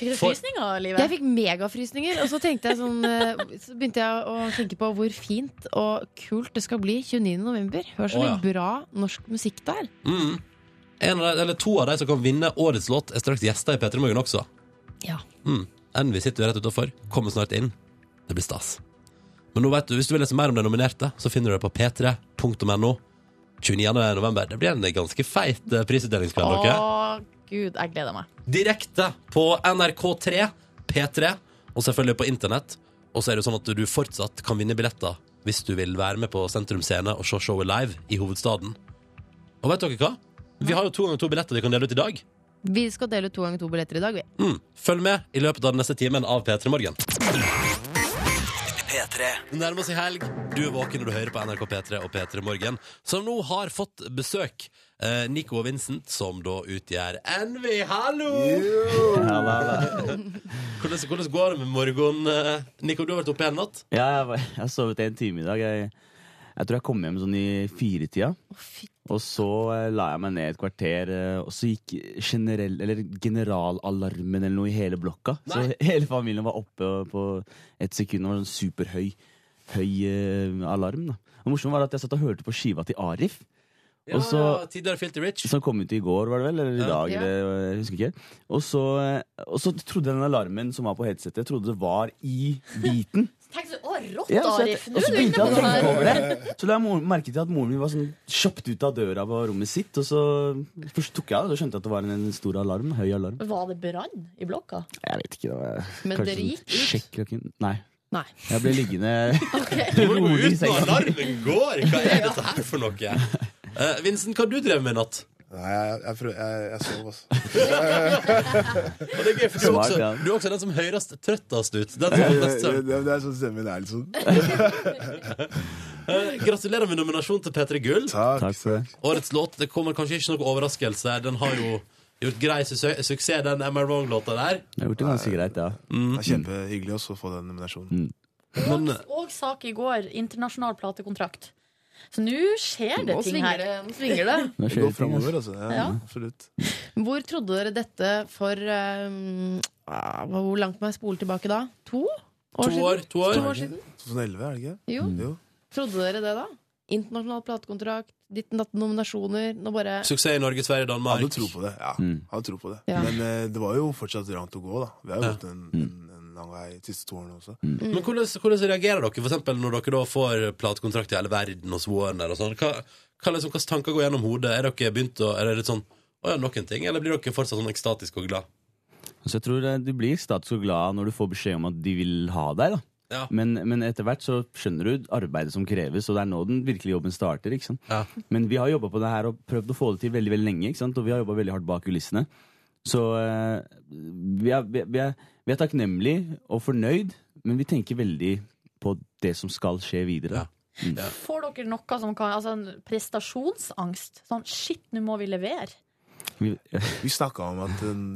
Fikk du For- frysninger, Live? Jeg fikk megafrysninger, og så, tenkte jeg sånn, eh, så begynte jeg å tenke på hvor fint og kult det skal bli 29. november. Hør så Å, mye ja. bra norsk musikk der. En av de, eller to av de som kan vinne årets låt, er straks gjester i P3 Morgen også. Ja. Mm. Envy sitter jo rett utenfor. Kommer snart inn. Det blir stas. Men nå vet du, hvis du vil lese mer om de nominerte, så finner du det på p3.no. 29. november. Det blir en ganske feit eh, prisutdelingskveld, Å, dere. gud, jeg gleder meg. Direkte på NRK3, P3, og selvfølgelig på internett. Og så er det jo sånn at du fortsatt kan vinne billetter hvis du vil være med på Sentrum Scene og se showet live i hovedstaden. Og vet dere hva? Vi har jo to ganger to billetter vi kan dele ut i dag. Vi skal dele ut to ganger to billetter i dag, vi. Mm. Følg med i løpet av den neste timen av P3 Morgen. P3. Det nærmer seg helg. Du er våken når du hører på NRK P3 og P3 Morgen, som nå har fått besøk. Eh, Nico og Vincent, som da utgjør NV. Hallo! Ja, da, da. Hvordan, hvordan går det med morgenen? eh? Nico, du har vært oppe hele natt. ja jeg, var- jeg har sovet en time i dag. Jeg, jeg tror jeg kom hjem sånn i firetida. Og så eh, la jeg meg ned et kvarter, eh, og så gikk generell, eller generalalarmen eller noe i hele blokka. Så hele familien var oppe og på et sekund. Det var sånn superhøy høy, eh, alarm. Da. Og morsomt var at jeg satt og hørte på skiva til Arif. Ja, Og så- Tidligere Filty Rich. Som kom ut i går, var det vel? Eller i Ja. dag, Ja. eller, eh, jeg husker ikke. Og så, eh, og så trodde jeg den alarmen som var på headsetet, trodde det var i beaten. Tenk så, å, rått, Ja, så jeg, Arif! Nå og så er du begynte inne jeg å på tenke noe her. over det. Så la jeg mor- merke til at moren min var sånn kjapt ut av døra på rommet sitt. Og så først tok jeg av det, og skjønte at det var en, en stor alarm. Høy alarm. Var det brann i blokka? Jeg vet ikke, det var Men kanskje dere sånn gikk ut? sjekklokken- Nei. Nei. Jeg ble liggende Du må gå rolig i ut når senga. alarmen går! Hva er dette her for noe? Eh, Vincent, hva har du drevet med i natt? Nei, jeg, jeg, prøv- jeg, jeg sov, altså. Og det er gøy, for du, er Smart, også, ja. du er også den som høres trøttest ut. Den som har mest søvn. det, det er sånn stemmen er, liksom. Eh, Gratulerer med nominasjon til P3 Gull. Takk. Takk for det. Årets låt det kommer kanskje ikke noe overraskelse. Den har jo gjort grei su suksess, den Am I Wrong-låta der. Jeg har gjort det ganske greit, ja. Det er kjempehyggelig også å få den nominasjonen. Men Og sak i går. Internasjonal platekontrakt. Så nå skjer det Nå ting svinger her. det. Nå svinger det. Nå Det skjer går det ting, altså. framover, altså. Ja, Ja. Absolutt. Hvor trodde dere dette for ehm, ah, Hvor langt må jeg spole tilbake da? To år to siden? år, eh, to år. To år siden? 2011, er det ikke? Jo. Jo. Trodde dere det da? Internasjonal platekontrakt, ditt natt nominasjoner Nå bare Suksess i Norge, Sverige, Danmark. Hadde tro på det. Ja, Mm. hadde tro på det. Ja. Men eh, det var jo fortsatt langt å gå, da. Vi har Ja. Mm. jo gått en, en, en lang vei de siste to årene også. Men hvordan, hvordan reagerer dere for eksempel, når dere da får platekontrakt i hele verden hos Warner? og sånn? Hva, hva liksom, Hvilke tanker går gjennom hodet? Er dere begynt å, er det litt sånn å ja, noen ting, eller blir dere fortsatt sånn ekstatiske og glad? Så jeg tror eh, du blir statisk og glad når du får beskjed om at de vil ha deg. da. Ja. Men, men etter hvert så skjønner du arbeidet som kreves, og det er nå den virkelige jobben starter. ikke sant? Ja. Men vi har jobba på det her og prøvd å få det til veldig veldig lenge, ikke sant? og vi har jobba veldig hardt bak kulissene. Så eh, vi, er, vi, er- vi, er, vi er takknemlig og fornøyd, men vi tenker veldig på det som skal skje videre. Ja. da. Får dere noe som kan Altså en prestasjonsangst? Sånn shit, nå må vi levere. Vi, Vi snakka om at eh,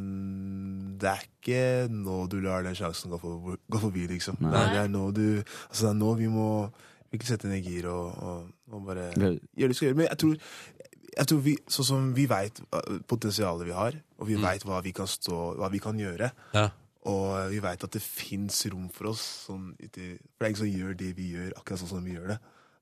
det er ikke nå du lar den sjansen gå, for, gå forbi, liksom. Det er, det er nå du Altså, det er nå vi må virkelig sette ned gir og, og, og bare Vel- gjøre det vi skal gjøre. Men jeg tror, jeg tror vi, sånn som vi veit potensialet vi har, Mm. og vi veit hva vi kan stå Hva vi kan gjøre, Ja. og vi veit at det fins rom for oss. Sånn, uti, for det er ingen som gjør det vi gjør, akkurat sånn som vi gjør det.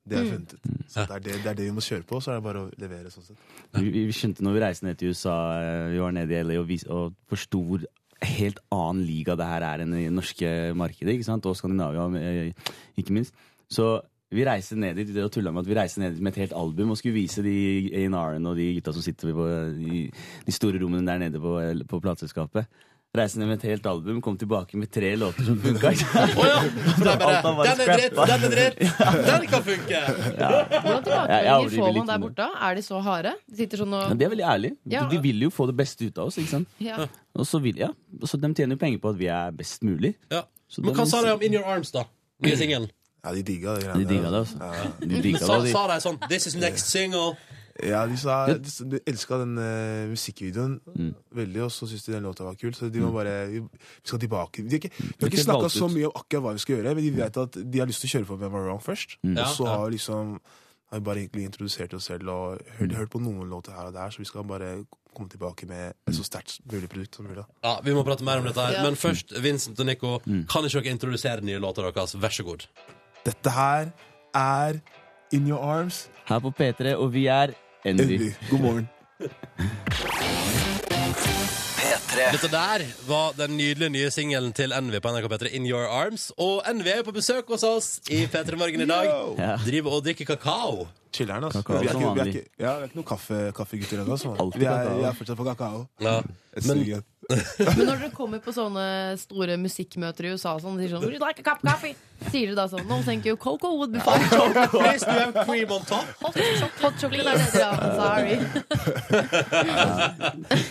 Det Mm. har jeg funnet ut. Så det er det, det er det vi må kjøre på, så er det bare å levere. sånn sett. Vi, vi vi skjønte når vi reiste ned til USA, eh, vi var nede i LA og, vis, og forsto hvor helt annen liga det her er enn i det norske markedet, ikke sant? og Skandinavia eh, ikke minst. Så vi reiste ned dit det å tulle med at vi reiste ned dit med et helt album og skulle vise de A&R-en og de gutta som sitter på de, de store rommene der nede på, eh, på plateselskapet. Reiste ned med et helt album, kom tilbake med tre låter som funka. Å ja! Så det er bare, Alt har bare den er dritt, scrappa. den er dritt, den kan funke! Hvordan Jeg- jeg tilbakemeldinger overdriver får man litt der med det. borte? Er de så harde? De sitter sånn Men og det er veldig ærlig. Ja. De vil jo få det beste ut av oss. ikke sant? ja. Og så vil, ja, og så De tjener jo penger på at vi er best mulig. Ja. Så Men da hva må sa vi- de om In Your Arms, da? Nye singelen. Ja, de digga det. De greiene digga der, det, altså. altså. De digga Mm. det, Sa, og de, sa de sånn This is next single. Ja, de sa de, de elska den eh, musikkvideoen veldig, og så syntes de den låta var kul. Så de må bare Vi skal tilbake. De har ikke, de har ikke ikke snakka valgt så ut. mye om akkurat hva vi skal gjøre, men de vet at de har lyst til å kjøre på med Am I Wrong først. Ja, Og så ja. har vi liksom har vi bare egentlig introdusert oss selv og hørt, hørt på noen låter her og der, så vi skal bare komme tilbake med et så sterkt mulig produkt som mulig. da. Ja, Vi må prate mer om dette her. Ja. Men først, Vincent og Nico, Mm. kan ikke dere introdusere nye låter deres? Vær så god. Dette her er In Your Arms. her på P3, og vi er Envy. Envy. God morgen. P3. Dette der var den nydelige nye singelen til Envy på NRK P3, In Your Arms. Og Envy er jo på besøk hos oss i P3 Morgen i dag. Ja. Driver og drikker kakao. Chiller'n, altså. Kakao vi, er som ikke, vi, er vanlig. ikke, ja, vi er ikke noen kaffe, kaffegutter ennå. altså. Alltid Vi, er- kakao. vi er fortsatt på kakao. Ja. Et Men- sugerør. Men når dere kommer på sånne store musikkmøter i USA og sånn, de sier sånn Would you like a cup of coffee? Sier dere da sånn No, thank you. Coco would be fine. Please, do you have cream on top? Hot chocolate. Hot chocolate. er det dere har. Sorry.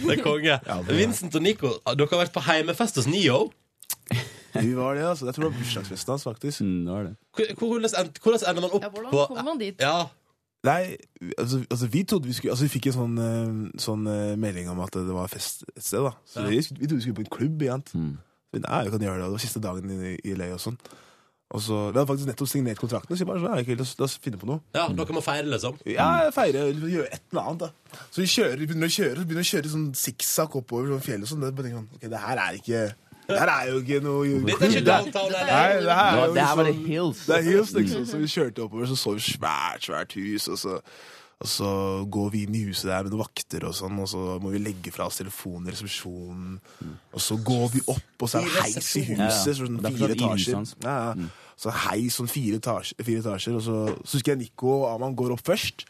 Det er konge. Vincent og Nico, dere har vært på heimefest hos Nio. Vi var det, altså. Jeg tror det var bursdagsfesten hans, faktisk. Mm, det var det. Hvor- Hvordan end- hvordan ender man opp Ja, hvordan på kommer man dit? Ja, Nei, altså, altså vi trodde vi skulle Altså vi fikk en sånn, eh, sånn eh, melding om at det var fest et sted, da. Så Ja. vi, vi trodde vi skulle på en klubb igjen. Mm. Men nei, vi kan gjøre det. og Det var siste dagen i, i LA og sånn. Og så, Vi hadde faktisk nettopp signert kontrakten, så jeg bare sånn, ja, ok, la, oss, la oss finne på noe. ja dere må feire, liksom. Ja, feire, eller gjøre et eller annet. da. Så vi kjører, vi begynner å kjøre, så begynner vi å kjøre sånn sikksakk oppover sånn fjellet og sånn. Det, er bare tenker man, ok, det her er ikke Det her er jo ikke noe Dette er ikke downtown Nei, LA. det her er Ja, jo der var det liksom- hills. det er hills, liksom. Så vi kjørte oppover, så så vi svært, svært hus, og så, og så går vi inn i huset der med noen vakter og sånn, og så må vi legge fra oss telefonen i resepsjonen, og så går vi opp, og så er det heis i huset, Ja, ja. sånn Det er Mm. fire fortsatt i huset etasjer. hans. Ja, ja. Så heis, sånn fire etasjer, fire etasjer og så, så husker jeg Nico og Aman går opp først,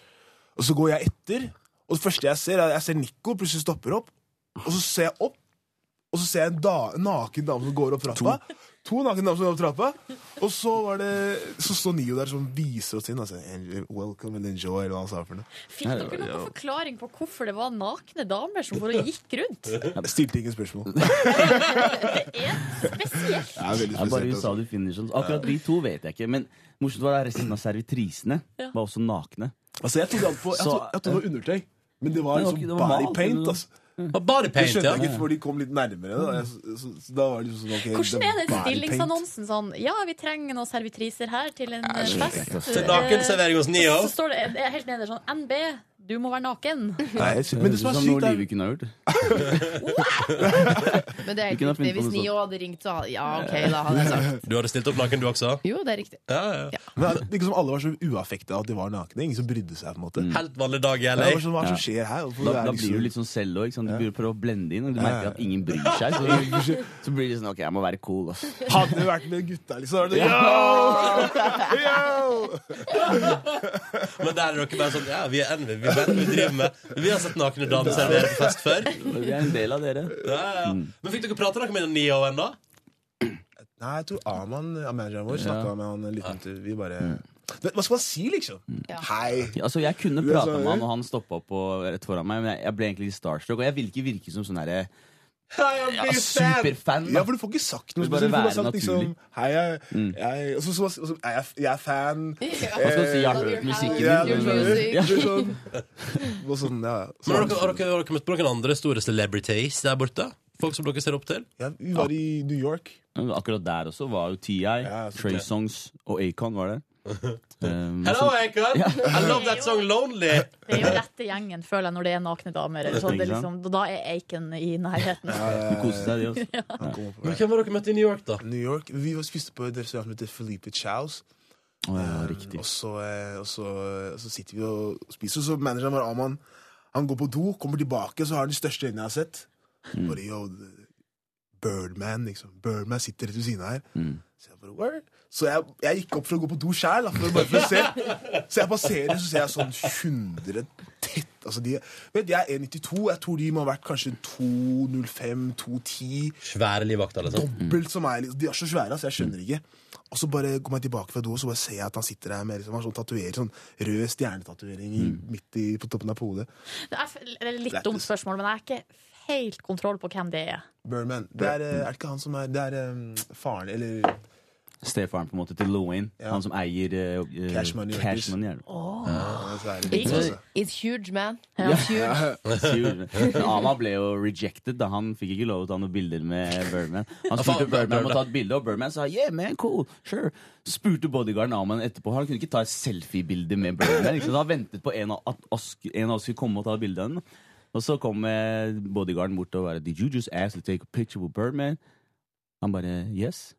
og så går jeg etter, og det første jeg ser, er jeg ser Nico plutselig stopper opp, og så ser jeg opp, og så ser jeg en, da, en naken dame som går opp trappa. To. naken damer som går opp trappa. Og så var det Så står Nio der som viser oss inn. Altså, "En- Welcome and enjoy, eller hva han sa for noe. Fikk dere noen forklaring på hvorfor det var nakne damer som bare gikk rundt? Jeg stilte ingen spørsmål. Det Det er spesielt. er veldig Det er bare USA spesielt. Altså. du finner sånn. Akkurat de to vet jeg ikke. Men morsomt var det resten av servitrisene var også nakne. altså, jeg trodde alt på Jeg Så- trodde, jeg trodde det var undertøy. Men Men det var det var liksom ikke- det var body malt, paint. eller- Altså. Bare Det paint, skjønte ja. jeg ikke før de kom litt nærmere. Da, jeg, så, så, så da var det liksom sånn ok, Hvordan det er den body paint. stillingsannonsen sånn? Ja, vi trenger noen servitriser her til en eh, fest. Til nakenservering hos Nio. Så står det jeg er helt nede sånn NB, du må være naken. Nei, jeg- men det som er Som sykt, sånn noe er livet kunne ha gjort. Men det er Vi helt kunne ha funnet riktig. på Hvis noe Nio hadde ringt, så hadde Ja, ok, da hadde jeg sagt Du hadde stilt opp naken, du også? Jo, det er riktig. Ja, ja. men det er ikke som alle var så uaffekta at de var nakne. Ingen som brydde seg. på en måte Helt vanlig dag i Ja, LA. det var sånn, Hva er det som skjer her? Hvorfor Mm. Da, er da liksom- blir du litt sånn selv òg. Du blir- prøver å blende inn, og du merker at ingen bryr seg. Så, så blir det sånn Ok, jeg må være cool. Ass. Hadde du vært med gutta, liksom. hadde du- Yo! Men der er dere bare sånn Ja, vi er envy, vi vet hva vi driver med. Vi har sett nakne damer servere på fest før. Vi er en del av dere. Ja, ja. Mm. Men fikk dere prate dere med Nio ennå? Nei, jeg tror Aman, ja, manageren vår, snakka med han en liten tur. Vi bare Mm. Vet, Hva skal man si, liksom? Hei. Altså, jeg kunne er sånn- prata så- med han, og han stoppa opp og rett foran meg, men jeg, jeg ble egentlig litt starstruck. Og jeg vil ikke virke som sånn herre ja, superfan. da. Ja, for du får ikke sagt noe Det vil bare spesielt. Du får bare være sagt liksom naturlig. Mm. Hei, jeg, jeg, og så- så- så- så- jeg, er- jeg er fan. Man skal si 'jeg har hørt musikken'. Ja, din, men- men- music. du er sånn. Og sånn, Men ja. har dere, Så, har dere, har dere møtt på noen andre store celebrities der borte? Folk som dere ser opp til? ja, vi var i New York. Men eh, Akkurat der også var jo TI, Ja, så Trey det- Songs og Acon var der. Um, Hello, Acon! I love that song Lonely! Det er jo rette gjengen, føler jeg, når det er nakne damer. eller sånn. Det er liksom, da er Aiken i nærheten. de koste seg, de også. Han Eh, kom opp. Men hvem har dere møtt i New York, da? New York. Vi var spiste på et restaurant som heter Felipe Chows. Å, ja, riktig. Og så, eh, og så, og så sitter vi og spiser, og så manageren vår, Aman, han går på do, kommer tilbake, så har han de største øynene jeg har sett. Mm. Bare, yo, Birdman, liksom. Birdman sitter rett ved siden av her. Mm. Så jeg bare, where? Så jeg, jeg gikk opp for å gå på do sjæl, for, bare for å se. Så jeg passerer, så ser jeg sånn 100 tett. Altså de, vet, du, jeg er 1,92. Jeg tror de må ha vært kanskje 2,05-2,10. Svære livvakter, liksom. Dobbelt som meg. liksom. De er så svære, altså. Jeg skjønner ikke. Og så bare kommer jeg tilbake fra do, og så bare ser jeg at han sitter der med liksom, han har sånn tatuering, sånn rød stjernetatovering i- midt i, på toppen av hodet. Det er f- eller litt dumt spørsmål, men jeg har ikke helt kontroll på hvem det er. Birdman. Det er, eh, er det ikke han som er Det er eh, faren, eller Stefaren på en måte til Lewin. Ja. Han som eier eh, eh, Cash Money Cash Records. Money, er det. Han er svære, It's, altså. it's huge, man. It's huge. Sur. Men Ama ble jo rejected. da Han fikk ikke lov til å ta noen bilder med Birdman. Han spurte faen, Birdman om Birdman. å ta et bilde, og Birdman sa yeah, man, cool, sure. Spurte bodyguarden Aman etterpå. Han kunne ikke ta et selfiebilde med Birdman. Ikke? sant? han ventet på en av, at oss, en av oss skulle komme og ta bilde av den. Og så kom eh, bodyguarden bort og bare Did you just ask to take a picture with Birdman? Han bare Yes.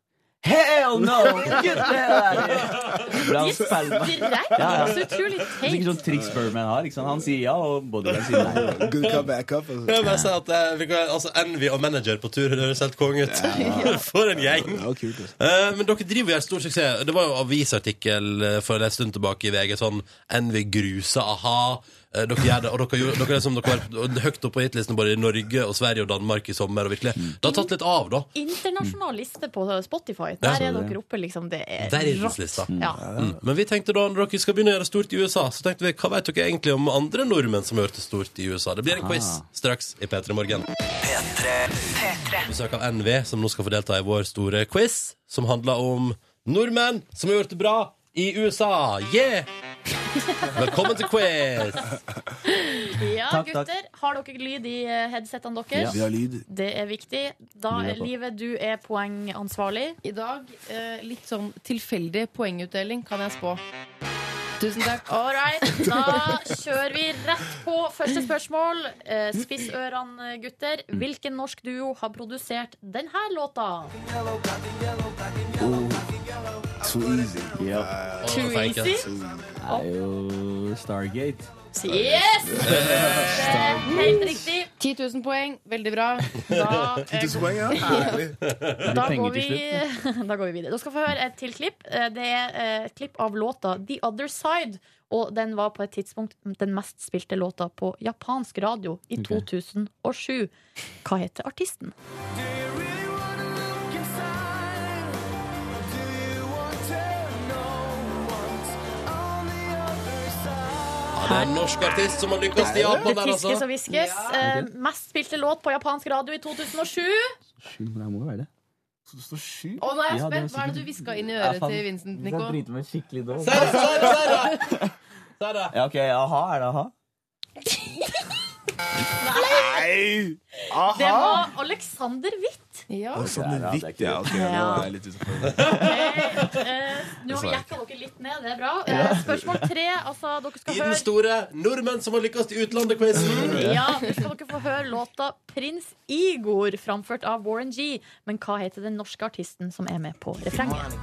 Hell no! Get the hell out of here! Ble han spælma. Direkte! altså. Ja, ja. Så utrolig Det er ikke teit. sånn triks Birdman har. Ikke sant? Han sier ja, og bodyguarden sier nei. Good come back up. Altså. Jeg vil bare si at eh, vi kan- altså, Envy og manager på tur høres helt konge ut. For en gjeng! Det var kult. Altså. Eh, Men dere driver jo en stor suksess. Det var jo avisartikkel eh, for en stund tilbake i VG sånn Envy grusa a-ha. Eh, Dere gjør det, og dere, gjorde- dere er som dere var høyt oppe på hitlistene både i Norge og Sverige og Danmark i sommer. og virkelig, Det har tatt litt av, da. Internasjonal liste på Spotify. Ja, Der er det. dere oppe, liksom. Det er Der er rått. hitlista. Ja. Mm. Men vi tenkte da, når dere skal begynne å gjøre stort i USA, så tenkte vi, hva vet dere egentlig om andre nordmenn som har gjort det stort i USA? Det blir en quiz straks i P3 Morgen. Besøk av NV, som nå skal få delta i vår store quiz, som handler om nordmenn som har gjort det bra i USA. Yeah! Velkommen til quiz! ja, Takk, takk. gutter. Har dere lyd i eh, headsetene deres? Vi har lyd. Det er viktig. Da, Lyd er på. Live, du er poengansvarlig. I dag eh, litt sånn tilfeldig poengutdeling, kan jeg spå. Tusen takk. All right, da kjører vi rett på første spørsmål. Eh, Spiss ørene, gutter. Hvilken norsk duo har produsert denne låta? So easy. Å, så enkelt. Det er jo Stargate. Yes! Det er helt riktig. 10 000 poeng, veldig bra. Da, eh, 10 000 poeng, ja. Herlig. Det da, blir går penger vi, til slutt. da går vi videre. Da skal vi få høre et til klipp. Eh, Det er eh, et klipp av låta The Other Side. Og den var på et tidspunkt den mest spilte låta på japansk radio i 2007. Hva heter artisten? Ja, det er en norsk artist som har lykkes i Japan der, Fiskes altså. og hviskes. Eh, Mest spilte låt på japansk radio i 2007. Sju, men det må jo være det. Så det står sju. Å, nå er jeg Ja, det er spent. Hva er det du hviska inn i øret Ja, faen. til Vincent, Jeg Nico? driter meg skikkelig dårlig. Der, der, der, der. Der, der. Ja, ok, aha, er det aha? Nei! Det var Alexander Hvitt. Ja. Og sånn er Ja, det er vitt, ja. Ok, nå er jeg litt utenfor. Eh, Nå jekka dere litt ned, det er bra. Eh, Spørsmål tre. Altså, dere skal I den høre store nordmenn som har lykkes i utlandet-quizen. Ja, nå skal dere få høre låta 'Prins Igor', framført av Warren G. Men hva heter den norske artisten som er med på refrenget?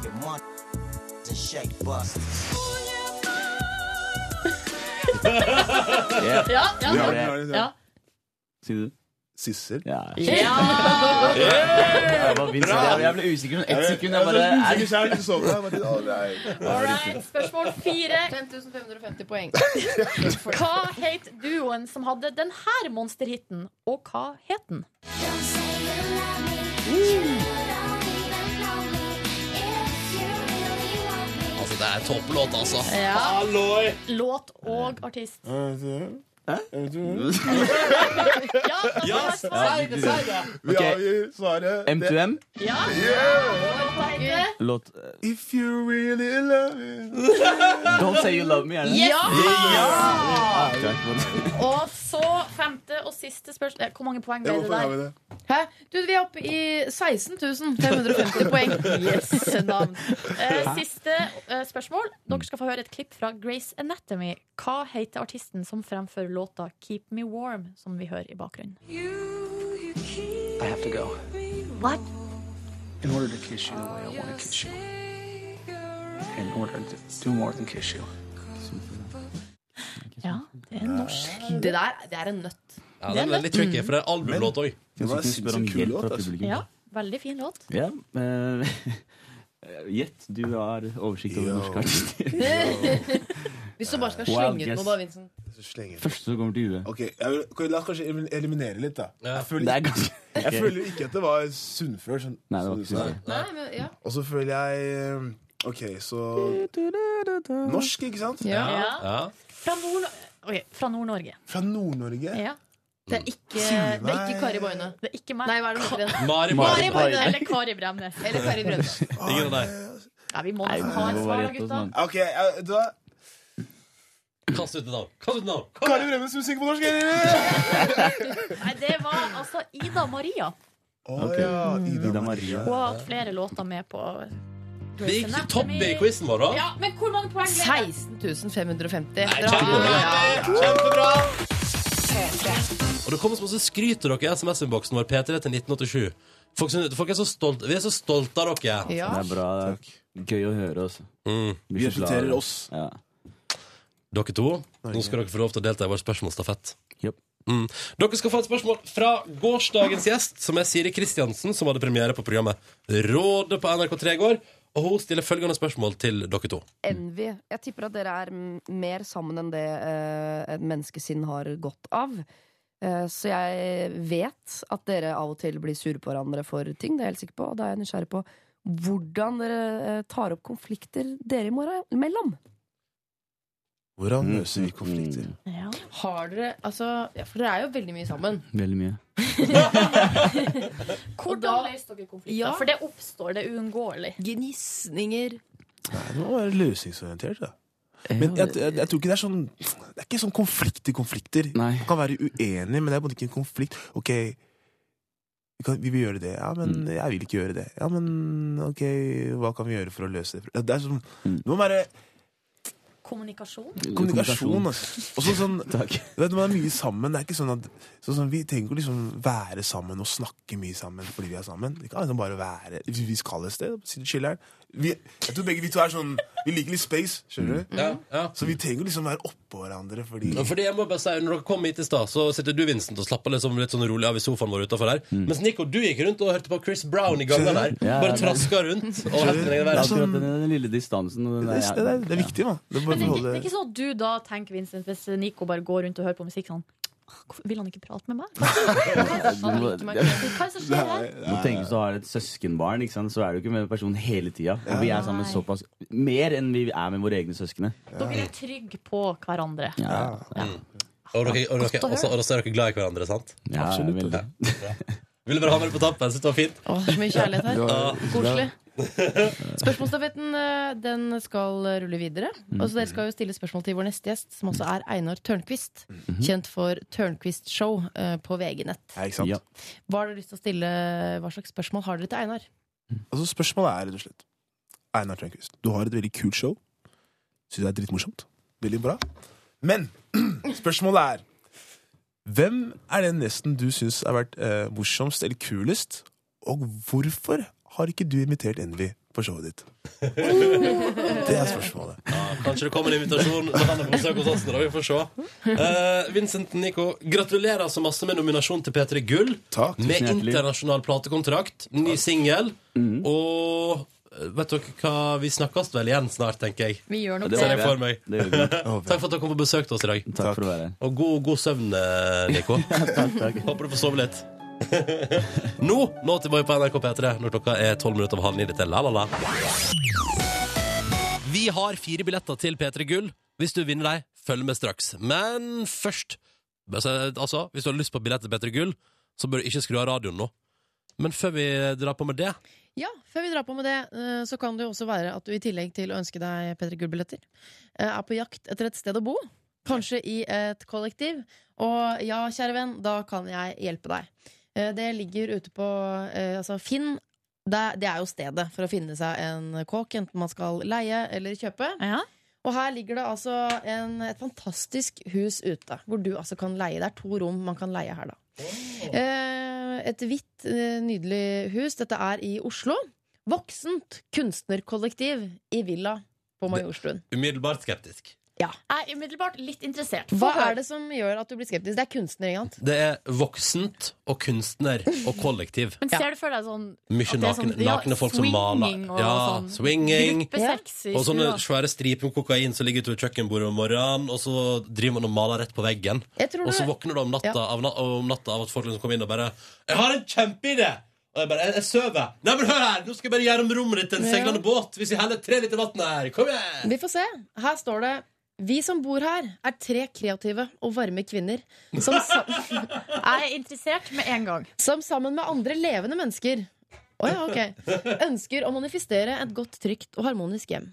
Ja. Ja, Vi ja, har den, vi har den, vi har ja. den. Sier du det? Sissel. Ja. ja. Jeg, bare Vincent, jeg, jeg ble usikker sånn ett sekund. Jeg bare er, Jeg har ikke sovet. Jeg bare, å, nei. All right. Spørsmål fire. 5550 poeng. Hva het duoen som hadde den her monsterhiten, og hva het den? Altså, det er topplåt, altså. Ja, Halloi! Låt og artist. Ja, Ja, da får si jeg svar. det, si det! Vi Ok. avgir svaret. Det- M2M? Ja, hva heter det? Låt eh, If you really love me Don't Say You Love Me, er det det? Ja! Ah, takk, men- Og så femte og siste spørsmål. Eh, Hvor mange poeng Ja, ble det hvorfor har der? vi det? Hæ? Du, vi er oppe i 16550 poeng. Yes, navn. Eh, siste eh, spørsmål. Dere skal få høre et klipp fra Grace Anatomy. Hva heter artisten som fremfører låta 'Keep Me Warm', som vi hører i bakgrunnen? I have to go. What? In order to kiss you the way I want to kiss you. In order to do more than kiss you. Ja, det er norsk. Det der det er en nøtt. Ja, den er veldig tricky, for det er albumlåt òg. Det var Musikken spør om sinnssykt kul hjelp låt, fra altså. publikum. Ja, veldig fin låt. Ja, eh, Gjett, du har oversikt over Ja. norske artister. Hvis du bare skal Wild slenge ut guess. noe, da, Vincent. Så slenger jeg. Første som kommer til huet. Ok, jeg vil, kan vi La oss kanskje elimin- eliminere litt, da. Ja. Jeg føler, Det er ganske jeg føler ikke at det var Sunnfør. Sånn, Nei, det var som du ikke sa. Sunnfør. Nei, men, ja. Og så føler jeg um, OK, så Norsk, ikke sant? Ja. Ja. Ja. Fra Nord- ok, fra Nord-Norge. Fra Nord-Norge. ja. Det er ikke, Sier det er ikke meg- Kari Boine. Det er ikke meg. Nei, hva er det hun heter igjen? Mari Mari. Mari Boine. Eller Kari Bremnes. Eller Kari Brønnes. Ingen av deg. Ja, vi må Nei, nesten det ha et må svar, være da, rett hos gutta. mann. Ah. OK, jeg, vet du hva? Kast ut et navn. Kast ut et navn. Kari Bremmes musikk på norsk, eller? Nei, det var altså Ida Maria. Å Ok. ja. Ida, Ida Maria. Maria. Hun har hatt flere låter med på Det Grey's gikk topp i Anatomy. quizen vår, da. Ja, men hvor mange poeng ble det? 16550. Nei, Dere har- Kjempebra! Kjempebra. Og det kommer så masse skryt til dere i SMS-innboksen vår P3 til 1987. Folk, synes, folk er så stolte. Vi er så stolte av dere. Ja. Det er bra. Takk. Gøy å høre, altså. Mm. Vi representerer oss. Ja. Dere to, nå skal dere få lov til å delta i vår spørsmålsstafett. Japp. Mm. Dere skal få et spørsmål fra gårsdagens gjest, som er Siri Kristiansen, som hadde premiere på programmet Rådet på NRK3 i går. Og hun stiller følgende spørsmål til dere to. Envy. Jeg tipper at dere er mm, mer sammen enn det eh, et menneskesinn har godt av. Eh, så jeg vet at dere av og til blir sure på hverandre for ting. Det er jeg helt sikker på. Og da er jeg nysgjerrig på hvordan dere eh, tar opp konflikter dere imellom. Mm, Hvordan løser vi konflikter? Ja. Har dere Altså, ja, for dere er jo veldig mye sammen. Veldig mye. Hvordan da- løser dere konflikter? Ja. For det oppstår, det er uungåelig. Gnisninger. Nei, det må være løsningsorientert, da. Men jeg, jeg, jeg tror ikke det er sånn Det er ikke sånn konflikt i konflikter. Nei. Man kan være uenig, men det er på en måte ikke en konflikt. Ok, vi, kan, vi vil gjøre det. Ja, Mm. men jeg vil ikke gjøre det. Ja, men ok, hva kan vi gjøre for å løse det? Det er sånn, Mm. det må være Kommunikasjon? kommunikasjon. Altså. Også sånn, Takk. du vet, man er mye sammen. Det er ikke sånn at sånn, som Vi trenger ikke å liksom være sammen og snakke mye sammen fordi vi er sammen. Vi kan liksom bare være Hvis vi skal et sted, sitte og chille her. Vi, jeg tror begge vi to er sånn Vi liker litt space, Mm. skjønner du? Ja, ja. Så vi trenger ikke liksom være oppå hverandre fordi Ja, Fordi jeg må bare si, når dere kom hit i stad, så sitter du Vincent, og slapper liksom litt sånn rolig av i sofaen vår utenfor her. Mens Nico, du gikk rundt og hørte på Chris Brown i gangen der. Mm. Ja, Bare ja, traska rundt. Og helt din egen Det er verden. Sånn- akkurat den, den lille distansen. og den Det der- er, det er, det er viktig, da. Det Men er det, er bare å ikke- det er holde ikke sånn at du da tenker, Vincent, hvis Nico bare går rundt og hører på musikk sånn «Åh, Hvorfor vil han ikke prate med meg? sånn Ja. Du må- Liker meg ikke. Hva er det som skjer her? Må tenke hvis du har et søskenbarn, ikke sant? så er du ikke med personen hele tida. Og vi er sammen Nei. såpass mer enn vi er med våre egne søskne. Dere er trygge på hverandre. Mm. Og dere, og dere, og så- og så er dere glad i hverandre, sant? Ja, Absolutt, veldig. det. Ville bare ha med det på tappen. Syns det var fint. Å, det er så mye kjærlighet her. Ja. Koselig. Spørsmålsstafetten eh, den skal rulle videre. Og så Dere skal jo stille spørsmål til vår neste gjest, som også er Einar Tørnquist. Kjent for Tørnquist Show eh, på VG-nett. Ja, ikke sant? Ja. Hva, har dere lyst til å stille, hva slags spørsmål har dere til Einar? Altså, spørsmålet er rett og slett Einar Tørnquist, du har et veldig kult show. Syns det er dritmorsomt. Veldig bra. Men spørsmålet er Hvem er den gjesten du syns har vært eh, morsomst eller kulest, og hvorfor har ikke du invitert Envy på showet ditt? Det er spørsmålet. Ja, kanskje det kommer en invitasjon, så han er på besøk hos oss. nå, Da. Vi får se. Eh, Vincent Nico, gratulerer så masse med nominasjon til P3 Gull. Takk. Med hjertelig. Mm. internasjonal platekontrakt, ny singel, og eh, Vet dere hva, vi snakkes vel igjen snart, tenker jeg. Vi gjør nok Det det. Ser var jeg for meg. Det gjør vi. Takk for at dere kom på besøk til oss i dag. Takk for å være her. Og god, god søvn, eh, Nico. Håper du får sove litt. Nå, nå tilbake på NRK P3 når klokka er 12 minutter over halv ni. Dette er La La La. Vi har fire billetter til P3 Gull. Hvis du vinner deg, følg med straks. Men først altså, Altså, hvis du har lyst på billett til P3 Gull, så bør du ikke skru av radioen nå. Men før vi drar på med det Ja, før vi drar på med det, eh, så kan det jo også være at du i tillegg til å ønske deg Petter Gull-billetter, eh, er på jakt etter et sted å bo. Kanskje i et kollektiv. Og ja, kjære venn, da kan jeg hjelpe deg. Eh, Det ligger ute på eh, altså Finn. Det er- det er jo stedet for å finne seg en kåk, enten man skal leie eller kjøpe. Ja. Og her ligger det altså en, et fantastisk hus ute, hvor du altså kan leie. Det er to rom man kan leie her, da. Eh, et hvitt, eh, nydelig hus. Dette er i Oslo. Voksent kunstnerkollektiv i Villa på Majorstuen. Umiddelbart skeptisk. Jeg er umiddelbart litt interessert. Hva er det som gjør at du blir skeptisk? Det er kunstner, ikke sant? Det er voksent og kunstner og kollektiv. Men ser du for deg sånn Mye At det er nakne, sånn, ja, nakne folk som maler. swinging og Ja, sånn swinging. gruppesex i Og sånne stua? svære striper med kokain som ligger utover kjøkkenbordet om morgenen, og så driver man og maler rett på veggen. Jeg tror Og så du- våkner du om natta, Ja. av, na om natta av at folk liksom kommer inn og bare 'Jeg har en kjempeidé!' Og jeg bare jeg, 'Jeg sover.' 'Nei, men hør her! Nå skal jeg bare gjøre om rommet ditt til en Ja. seilende båt hvis jeg heller tre liter vann her. Kom igjen!' Vi får se. Her står det Vi som bor her, er tre kreative og varme kvinner som, sa Jeg er interessert med en gang. som sammen med andre levende mennesker Å ja, ok. ønsker å manifestere et godt, trygt og harmonisk hjem.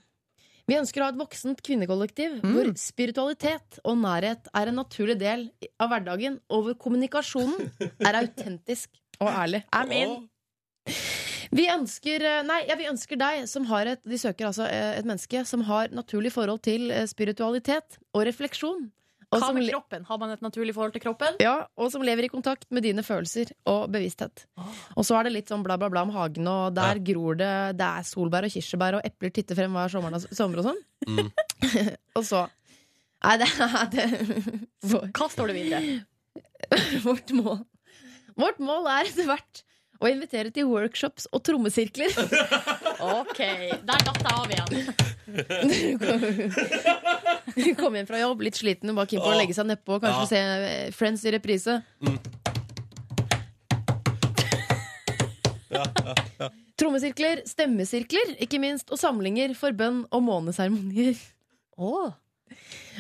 Vi ønsker å ha et voksent kvinnekollektiv hvor spiritualitet og nærhet er en naturlig del av hverdagen, og hvor kommunikasjonen er autentisk og ærlig. I'm in. Vi ønsker, eh, nei, ja, vi ønsker deg som har et De søker altså eh, et menneske som har naturlig forhold til eh, spiritualitet og refleksjon. Og Hva som, med le- kroppen? Har man et naturlig forhold til kroppen? ja, og som lever i kontakt med dine følelser og bevissthet. Og så er det litt sånn bla, bla, bla om hagen, og der gror det Det er solbær og kirsebær, og epler titter frem hver sommer, sommer og sånn. Mm. og så Nei, det er det, vår- Hva står det videre? Vårt mål Vårt mål er etter hvert Og invitere til workshops og trommesirkler. OK. Der datt jeg av igjen. Komme hjem fra jobb, litt sliten, og bare keen på å legge seg nedpå. Ja. Kanskje Mm. se eh, Friends i reprise. Trommesirkler, stemmesirkler, ikke minst, og samlinger for bønn og måneseremonier. Oh.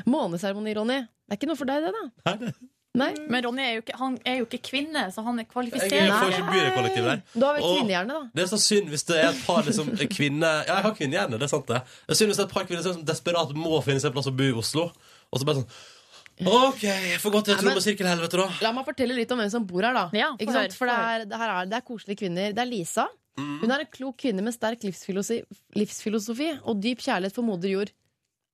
Måneseremoni, Ronny. Det er ikke noe for deg, det, da? Nei? Men Ronny er jo ikke, han er jo ikke kvinne, så han er Jeg er for kvalifisert. ikke byrekollektiv der. Du har vel Åh. kvinnehjerne, da? Det er så synd hvis det er et par liksom, kvinner Ja, jeg har kvinnehjerne, det er sant det. Det er synd hvis det er et par kvinner som liksom desperat må finne seg en plass å bo i Oslo. Og så bare sånn OK, jeg får gå til Nei, men- trommesirkelhelvete, da. La meg fortelle litt om hvem som bor her, da. Ja, få ikke sant? høre, For få det er, det, her er, det er koselige kvinner. Det er Lisa. Mm. Hun er en klok kvinne med sterk livsfilosofi, livsfilosofi og dyp kjærlighet for moder jord.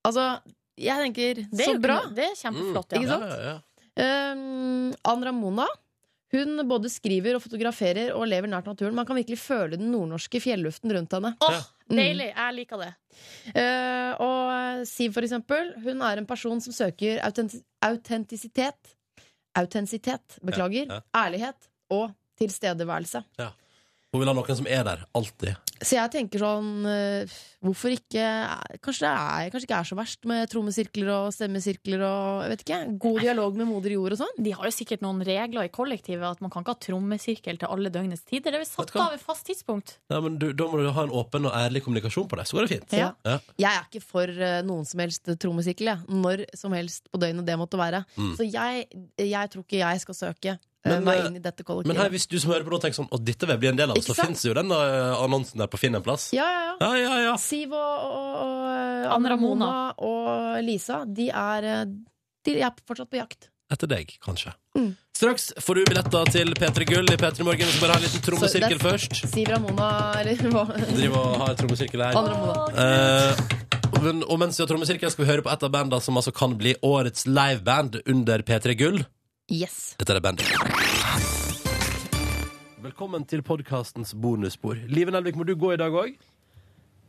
Altså, jeg tenker Det er så jo bra! bra. Det er Mm. kjempeflott. Ikke Ja. sant? Um, Ann Ramona hun både skriver og fotograferer og lever nært naturen. Man kan virkelig føle den nordnorske fjelluften rundt henne. Åh, deilig. Jeg liker det. Eh, og Siv, for eksempel, hun er en person som søker autent autentisitet. Autentisitet, beklager. Ja, ja. Ærlighet og tilstedeværelse. Hun vil ha noen som er der, alltid. Så jeg tenker sånn eh, Hvorfor ikke Kanskje det er, kanskje ikke er så verst med trommesirkler og stemmesirkler og jeg vet ikke, god dialog med moder jord og sånn? De har jo sikkert noen regler i kollektivet at man kan ikke ha trommesirkel til alle døgnets tider. Det er Vet vel satt du hva? av et fast tidspunkt. Nei, men du, da må du ha en åpen og ærlig kommunikasjon på det. Så går det fint. Ja. Ja. Jeg er ikke for eh, noen som helst trommesirkel, jeg. Når som helst på døgnet det måtte være. Mm. Så jeg, jeg tror ikke jeg skal søke eh, Men, meg eh, inn i dette Men her, kollektivet. hvis du som hører på nå tenker sånn Og dette vil jeg bli en del av, Ikke så sant? fins jo den eh, annonsen der på Finn en plass. Ja, ja, ja. Ja, ja, ja. Siv og, og, og Ann eh, Ann Ramona Ramona. og Lisa, de er, eh, de er fortsatt på jakt. Etter deg, kanskje. Mm. Straks får du billetter til P3 Gull i P3 Morgen. Vi skal bare ha en liten trommesirkel Så det- først. Siv Ramona, eller hva? Driver og har en trommesirkel her. Ann Ramona. Eh, men, og mens vi har trommesirkel, skal vi høre på et av bandene som altså kan bli årets liveband under P3 Gull. Yes. Dette er bandet. Velkommen til podkastens bonusspor. Live Nelvik, må du gå i dag òg?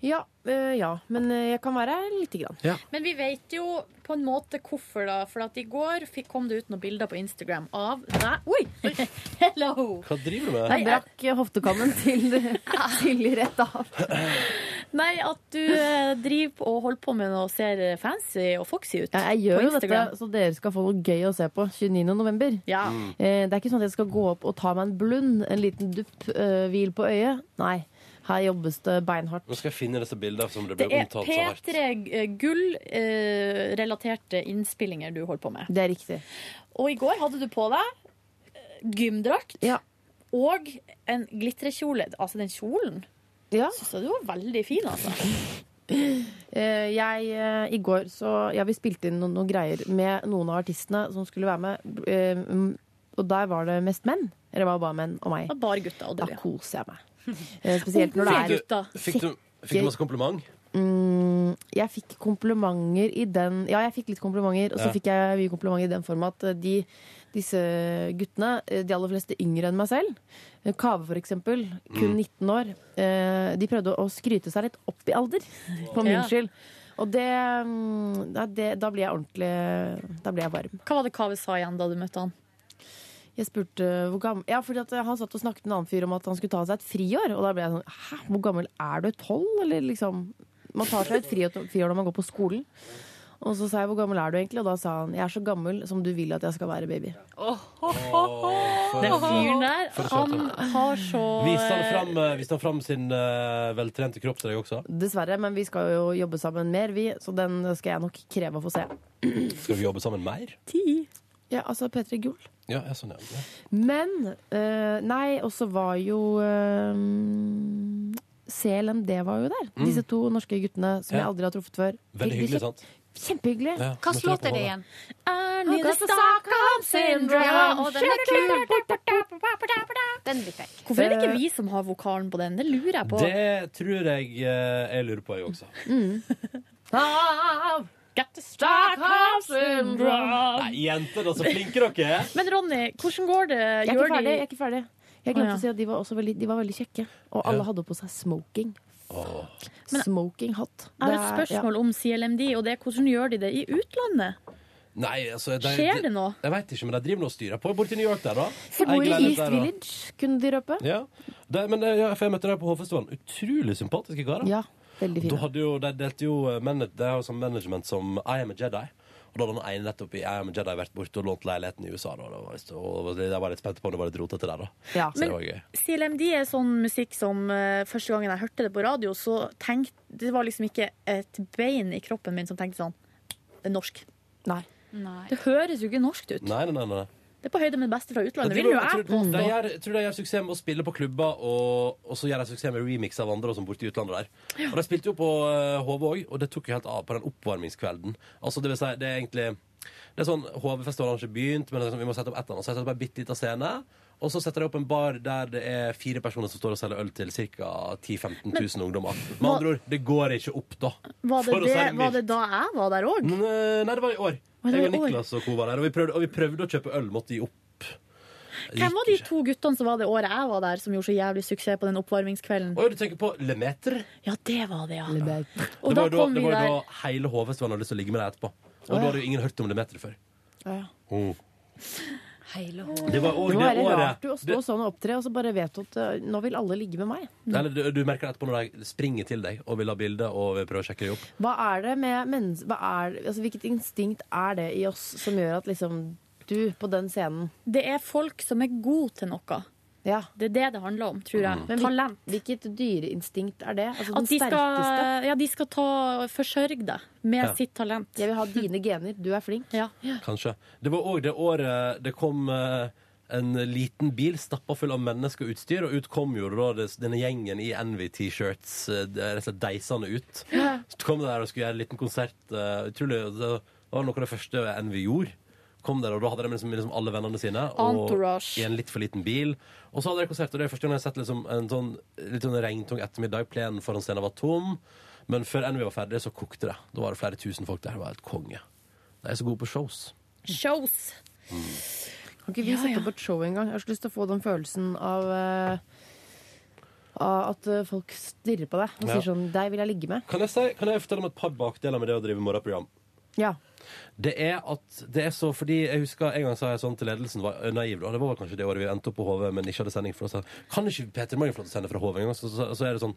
Ja, eh, ja, men eh, jeg kan være her lite grann. Men vi vet jo på en måte hvorfor, da. For at i går fikk, kom det ut noen bilder på Instagram av deg. Oi! Hello! Hva driver du med? Jeg brakk eh, hoftekammen til Ah. Silje rett av. Nei, at du eh, driver og holder på med noe og ser eh, fancy og foxy ut. Ja, jeg gjør På jo dette Instagram. så dere skal få noe gøy å se på 29. november. Ja. Eh, Det er ikke sånn at jeg skal gå opp og ta meg en blund, en liten dupp, eh, hvil på øyet. Nei, her jobbes det beinhardt. Nå skal jeg finne disse bildene som det Det ble er omtalt så hardt. P3 Gull-relaterte eh, innspillinger du holder på med. Det er riktig. Og i går hadde du på deg eh, gymdrakt Ja. og en glitrekjole. Altså den kjolen. Ja. Så du var veldig fin, altså. Eh, Jeg, eh, i går, så ja, vi spilte inn noen, noen greier med noen av artistene som skulle være med. eh, mm, Og der var det mest menn. Eller det var bare menn og meg. Det var bare gutta og Da du. ja. koser jeg meg. Eh, Spesielt når det er Gutta. Fikk du, fikk du masse kompliment? Mm, jeg fikk komplimenter i den Ja, jeg fikk litt komplimenter, og så Ja. fikk jeg mye komplimenter i den form at eh, de, disse guttene, eh, de aller fleste yngre enn meg selv, eh, Kave for eksempel, kun 19 år, eh, de prøvde å skryte seg litt opp i alder, på min Ja. skyld. Og det, mm, da- det Da blir jeg ordentlig Da blir jeg varm. Hva var det Kaveh sa igjen da du møtte han? Jeg spurte hvor gammel Ja, fordi at eh, han satt og snakket med en annen fyr om at han skulle ta seg et friår. Og da ble jeg sånn Hæ, hvor gammel er du? Tolv? Eller liksom Man tar seg et friår friår når man går på skolen. Og så sa jeg hvor gammel er du egentlig? Og da sa han jeg er så gammel som du vil at jeg skal være, baby. Den fyren der, han har så Viste han fram, eh, viste han fram sin eh, veltrente kropp til deg også? Dessverre, men vi skal jo jobbe sammen mer, vi. Så den skal jeg nok kreve å få se. Skal vi jobbe sammen mer? Ja, altså P3 Gull. Ja, ja sånn, ja. Men eh, Nei, og så var jo eh, CLMD var jo der. Disse to norske guttene som jeg Mm. Ja. aldri har truffet før. Veldig hyggelig, sånn. sant? Kjempehyggelig. Ja, Hva møtte låt dere på er det da? igjen? I I the the Stockholm syndrome. Ja, og den er kul. Den blir fekk. Hvorfor er det ikke vi som har vokalen på den? Det lurer jeg på. Det tror jeg eh, jeg lurer på, jeg også. Get the Stockholm syndrome. Nei, jenter, altså. Flinke dere er. Men Ronny, hvordan går det? Jeg er Gjør ikke ferdig. de- Jeg, er ikke ferdig. jeg glemte Å, ja. å si at de var, også veldig, de var veldig kjekke. Og alle Ja. hadde på seg smoking. Åh. smoking hot. Jeg har et spørsmål om CLMD, og det er hvordan gjør de det i utlandet? Nei, altså de, Skjer det nå? Jeg veit ikke, men de driver nå og styrer på borti New York der, da. De bor i England, East der, da. Village, kunne de røpe. Ja. De, men eh, ja, for jeg møtte dem på Hovedstaden. Utrolig sympatiske karer. Ja, veldig Da fine. hadde jo, de delte jo eh, manag- De har jo sånn management som I am a Jedi. Og da hadde han ene nettopp i I am a Jedi vært borte og lånt leiligheten i USA. Da. Det var, visst- og jeg var litt spent på om det var litt rotete der, da. Ja. Så det var gøy. CLMD er sånn musikk som eh, første gangen jeg hørte det på radio, så tenkte Det var liksom ikke et bein i kroppen min som tenkte sånn Det er norsk. Nei. Det høres jo ikke norskt ut. Nei, nei, nei. nei. Det er på høyde med det beste fra utlandet, Jeg tror, vil jo jeg jeg. tror, de gjør, jeg tror de gjør suksess med å spille på klubber, og, og så gjør de suksess med remix av andre som borte i utlandet der. Og de spilte jo på eh, HV òg, og det tok jo helt av på den oppvarmingskvelden. Altså, det vil si, det er egentlig Det er sånn HV-festivalen har ikke begynt, men det er sånn, vi må sette opp et eller annet. Så jeg setter opp en bitte liten scene, og så setter de opp en bar der det er fire personer som står og selger øl til ca. 10 000-15 000 ungdommer. Med andre ord, det går ikke opp, da. Var det, For å si det, mildt. Mm, var det da jeg var der òg? eh, Nei, nei, det var i år. Var det Jeg og i år? Niklas og co. var der, og vi, prøvde, og vi prøvde å kjøpe øl. Måtte gi opp. Hvem Gikk var de ikke. to guttene som var det året jeg var der, som gjorde så jævlig suksess på den oppvarmingskvelden? Oi, du tenker på Lemeter? Ja, det var det, ja. Det Og var da jo da, det kom vi var jo der. da hele Hovestvann hadde lyst til å ligge med deg etterpå. Å, Og da ja. hadde jo ingen hørt om Lemeter før. Ja. Mm. Heile Det var Det òg må det være rart året du å stå det, sånn og opptre, og så bare vet du at eh, nå vil alle ligge med meg. eller, du, du merker det etterpå når de springer til deg og vil ha bilde og vil prøve å sjekke deg opp. Hva er det med mennes... Hva er, altså, hvilket instinkt er det i oss som gjør at liksom du på den scenen Det er folk som er gode til noe. Ja. Det er det det handler om, tror Mm. jeg. Men hvil- Talent. Hvilket dyreinnstinkt er det? Altså, den At de sterkeste? skal, ja, de skal ta, forsørge deg med Ja. sitt talent. Jeg vil ha dine gener. Du er flink. Ja. Kanskje. Det var òg det året det kom eh, en liten bil stappa full av mennesker og utstyr, og ut kom jo da det, denne gjengen i Envy-T-shirts eh, det er rett og slett deisende ut. Så kom de der og skulle gjøre en liten konsert. eh, utrolig, det var noe av det første Envy gjorde. Kom der, og Da hadde de liksom, liksom alle vennene sine og Entourage. i en litt for liten bil. Og så hadde de konsert, og det er første gang jeg har sett liksom, en sånn, litt sånn regntung ettermiddag. Plenen foran scenen var tom, men før Envy var ferdig, så kokte det. Da var det flere tusen folk der. Det var helt konge. De er så gode på shows. Shows. Kan ikke vi Ja, sette ja. opp et show engang? Jeg har så lyst til å få den følelsen av eh, av at eh, folk stirrer på deg og Ja. sier sånn 'Deg vil jeg ligge med'. Kan jeg, si, kan jeg fortelle om et par bakdeler med det å drive morgenprogram? Ja. Det er at det er så fordi Jeg husker en gang sa jeg sånn til ledelsen var eh, naiv, da. Det var vel kanskje det året vi endte opp på HV, men ikke hadde sending. For oss. Kan ikke Peter Morgen få lov til å sende fra HV engang? Så, så, så er det sånn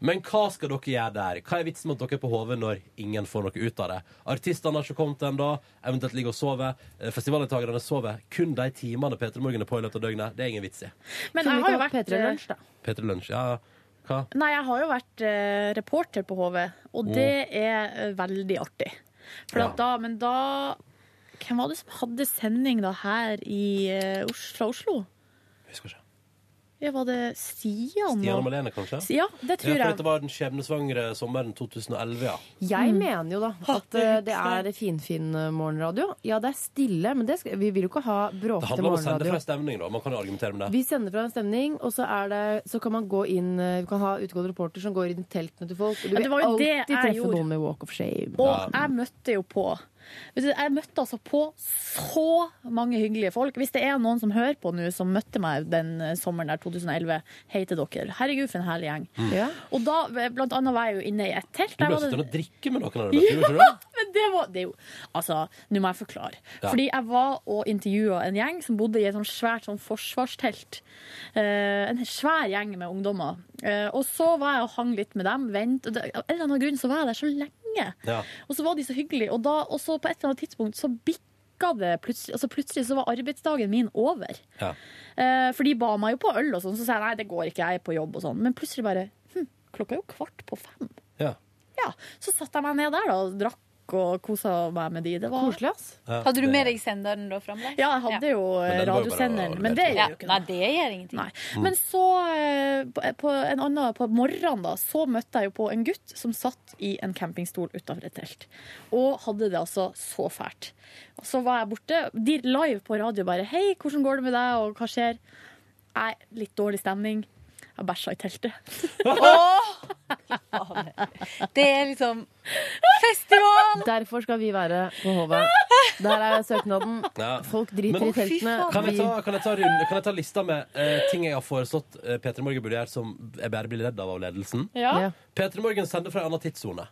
Men hva skal dere gjøre der? Hva er vitsen med at dere er på HV når ingen får noe ut av det? Artistene har ikke kommet ennå, eventuelt ligger og sover. Eh, Festivaldeltakerne sover. Kun de timene Peter Morgen er på i løpet av døgnet, det er ingen vits i. Men Kunne jeg vi har ikke jo hatt vært eh, P3 Lunsj, da? Peter Lunsj, ja. Hva? Nei, jeg har jo vært eh, reporter på HV, Mm. og det er eh, veldig artig. For at da, men da Hvem var det som hadde sending da her i, eh, Os- fra Oslo? Jeg Husker ikke. Ja, var det Stian? Diana og- Malene, kanskje? Ja, det Ja, tror for jeg. dette var den skjebnesvangre sommeren 2011, ja. Jeg mm. mener jo da at eh, det er sånn- finfin eh, morgenradio. Ja, det er stille, men det skal, vi vil jo ikke ha Det bråkete handler om å sende morgenradio. fra stemning, da. Man kan jo argumentere med det. Vi sender fra en stemning, og så, er det, så kan man gå inn eh, Vi kan ha utgående reporter som går inn i teltene til folk. Og du Ja, vil det var jo det alltid jeg treffe gjorde. noen med walk of shame. Og jeg møtte jo på Vet du, Jeg møtte altså på så mange hyggelige folk. Hvis det er noen som hører på nå, som møtte meg den eh, sommeren der 2011, hei til dere. Herregud, for en herlig gjeng. Ja. Og da, eh, blant annet, var jeg jo inne i et telt. Mm. Du Der ble var det- sittende og drikke med noen av dem. Ja, gjorde ikke du? men det var det er jo, Altså, nå må jeg forklare. Ja. Fordi jeg var og intervjua en gjeng som bodde i et sånt svært sånn forsvarstelt. Eh, en svær gjeng med ungdommer. Eh, og så var jeg og hang litt med dem. Vent, og det, av en eller annen grunn så var jeg der så lenge. Ja. Og så var de så hyggelige. Og, da, og så på et eller annet tidspunkt så bikka det plutselig. Altså plutselig så var arbeidsdagen min over. Ja. Eh, for de ba meg jo på øl og sånn, så sa jeg nei, det går ikke, jeg er på jobb og sånn. Men plutselig bare hm, klokka er jo kvart på fem. Ja. Ja, så satte jeg meg ned der da, og drakk og kosa meg med de. Det var... Koselig, ass. Ja, Hadde du det- med deg senderen da fremdeles? Ja, jeg hadde jo eh, Men den var jo bare radiosenderen, å- men det gjør Ja. jo ikke Nei, noe. det gjør ingenting. Nei. Mm. Men så, eh, på- på, en annen, på morgenen da, så møtte jeg jo på en gutt som satt i en campingstol utenfor et telt. Og hadde det altså så fælt. Og så var jeg borte, de live på radio bare, hei, hvordan går det med deg, og hva skjer? Nei, litt dårlig stemning. Jeg bæsja i teltet. Det er liksom festival! Derfor skal vi være på HV. Der er søknaden. Ja. Folk driter Men- i teltene. Kan jeg, Vi- ta, kan, jeg ta runde, kan jeg ta lista med eh, ting jeg har foreslått uh, Peter Morgen burde gjøre som jeg bare blir redd av av ledelsen? Ja. Peter Morgen sender fra en annen tidssone.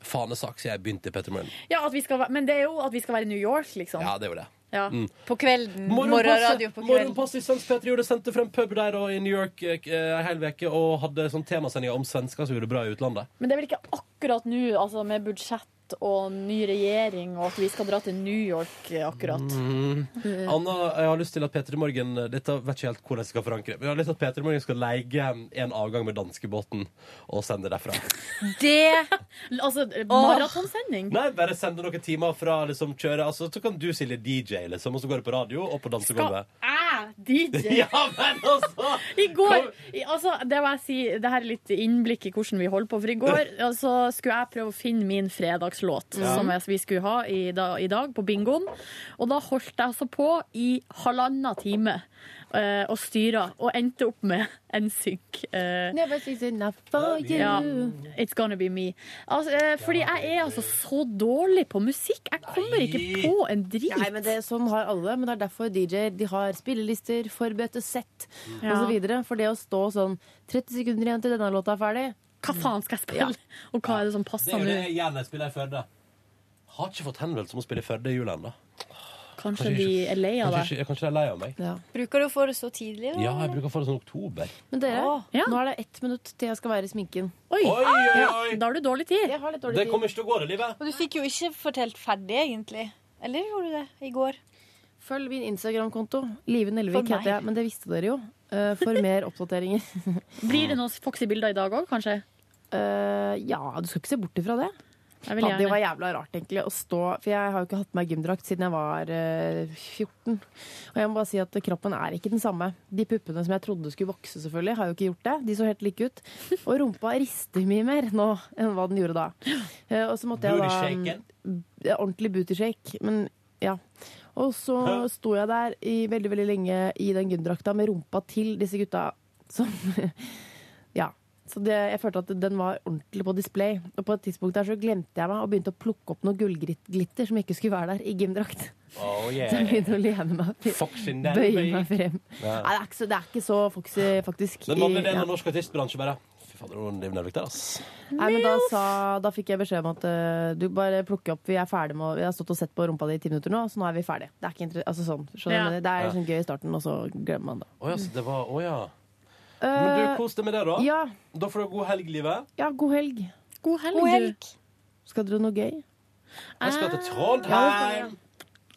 fanesak siden jeg begynte i Petter Morgen. Ja, at vi skal, være- men det er jo at vi skal være i New York, liksom. Ja, det er jo det. Ja. Mm. På kvelden. Morgenradio Morgenpasset på kvelden. Morgenpasset i Svensk Petter gjorde sendte frem pub der og i New York eh, en hel veke og hadde sånn temasendinger om svensker som gjorde det bra i utlandet. Men det er vel ikke akkurat nå, altså med budsjett og ny regjering, og at vi skal dra til New York eh, akkurat. Mm. Anna, jeg har lyst til at Peter i Morgen eh, Dette vet ikke helt hvordan jeg skal forankre Men jeg har lyst til at Peter i Morgen skal leie en avgang med danskebåten og sende derfra. Det Altså, maratonsending? Nei, bare sende noen timer fra liksom kjøre Altså, så kan du Silje DJ, liksom, og så går det på radio og på dansegulvet. Æ, DJ! Ja, men altså! I går i, altså, Det må jeg si, det her er litt innblikk i hvordan vi holder på. For i går altså, skulle jeg prøve å finne min fredagslåt, Ja. som jeg, vi skulle ha i, da, i dag på bingoen. Og da holdt jeg altså på i halvannen time eh, og styra, og endte opp med en synk. eh, Never sees enough for you. ja. It's gonna be me. Altså, eh, fordi jeg er altså så dårlig på musikk. Jeg kommer ikke på en drit. Nei, men det, sånn har alle, men det er derfor DJ-er de har spillelister, forberedte sett Ja. og så videre For det å stå sånn 30 sekunder igjen til denne låta er ferdig Hva faen skal jeg spille? Og hva er det som Det er passer jo nå? det jeg gjerne spiller i Førde. Har ikke fått henvendelse om å spille i Førde i jula ennå. Kanskje de er lei av Kanskje deg? ikke- Kanskje de er lei av meg. Bruker du å få det så tidlig? Da? Ja, jeg bruker å få det sånn oktober. Men dere, Åh. nå er det ett minutt til jeg skal være i sminken. Oi, Oi, oi, oi! da har du dårlig tid. Jeg har litt dårlig Det tid. kommer ikke til å gå, det livet. Og du fikk jo ikke fortalt ferdig, egentlig. Eller gjorde du det i går? Følg min Instagram-konto. Live Nelvik For meg. heter jeg, men det visste dere jo. eh, For mer oppdateringer. Blir det noen foxy bilder i dag òg, kanskje? Eh, ja, du skal ikke se bort ifra det. Jeg vil Ja, det gjerne. var jævla rart, egentlig, å stå For jeg har jo ikke hatt på meg gymdrakt siden jeg var eh, 14. Og jeg må bare si at kroppen er ikke den samme. De puppene som jeg trodde skulle vokse, selvfølgelig, har jo ikke gjort det. De så helt like ut. Og rumpa rister mye mer nå enn hva den gjorde da. Eh, og så måtte jeg da Booty-shaken. ja, Ordentlig booty shake. Men ja. Og så sto jeg der i veldig, veldig lenge i den gymdrakta med rumpa til disse gutta som Ja. Så det, jeg følte at den var ordentlig på display. Og på et tidspunkt der så glemte jeg meg og begynte å plukke opp noe gullglitter som ikke skulle være der i gymdrakt. Oh, Så jeg yeah. begynte å lene meg til. Fox in that Bøye meg way. frem. Ja. Nei, det er ikke så, det er ikke så foxy, faktisk. Den i- mannlige delen ja. av norsk artistbransje bare Fy fader, hun Liv Nelvik der, ass. Nei, men da, sa, da fikk jeg beskjed om at eh, du bare plukker opp, vi er ferdig med å- Vi har stått og sett på rumpa di i ti minutter nå, så nå er vi ferdige. Det er ikke inter- altså sånn, skjønner Ja. du? Det er sånn gøy i starten, og så glemmer man det. Å ja, så det var Å ja. Men du, kos deg med det, da. Eh, ja, Da får du ha god helg, livet. ja, god helg. God helg, God du. helg. Skal dere noe gøy? Jeg skal til Trondheim!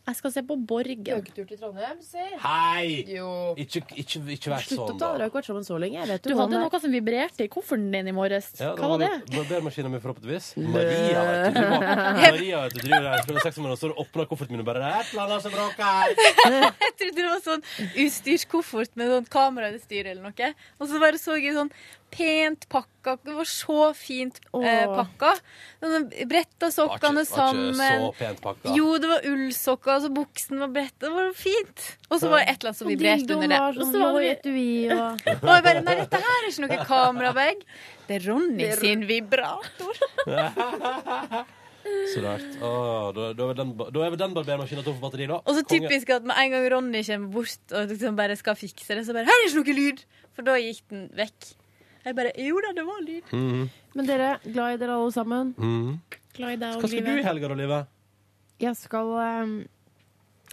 Jeg skal se på Borgen. Joggetur til Trondheim, ser. Hei! Jo. Ikke, ikke, ikke vær Slutt sånn, å ta, dere da. har ikke vært sammen så lenge. Jeg vet Du jo hadde hvordan det noe som vibrerte i kofferten din i morges. Ja, Hva var det? Barbermaskina mi, forhåpentligvis. Maria, vet du. du. var- Maria, vet du, driver her fra seks måneder, så åpner kofferten min og bare Det er et eller annet som bråker! Jeg trodde det var sånn utstyrskoffert med sånn kamerautstyr eller noe. Og så bare så jeg sånn pent pakka Det var så fint eh, Åh. pakka. Sånn, Bretta Var ikke- sokkene var ikke sammen. Så pent pakka. Jo, det var ullsokker, og så buksen var bretta. Det var fint. Og så var det et eller annet som vibrerte under det. var Og sånn så var lå i det- etui og Og jeg bare Nei, dette her er ikke noe kamerabag. Det er Ronny sin vibrator. Så rart. Åh, da, da er vel den, ba- da er vel den barbermaskina tom for batteri, da. Og så Konge. typisk at med en gang Ronny kommer bort og liksom bare skal fikse det, så bare Her er ikke noe lyd! For da gikk den vekk. Jeg bare Jo da, det var lyd. Men dere, glad i dere alle sammen. Mhm. Glad i deg Hva og skal du i livet. helga, da, Live? Jeg skal ehm,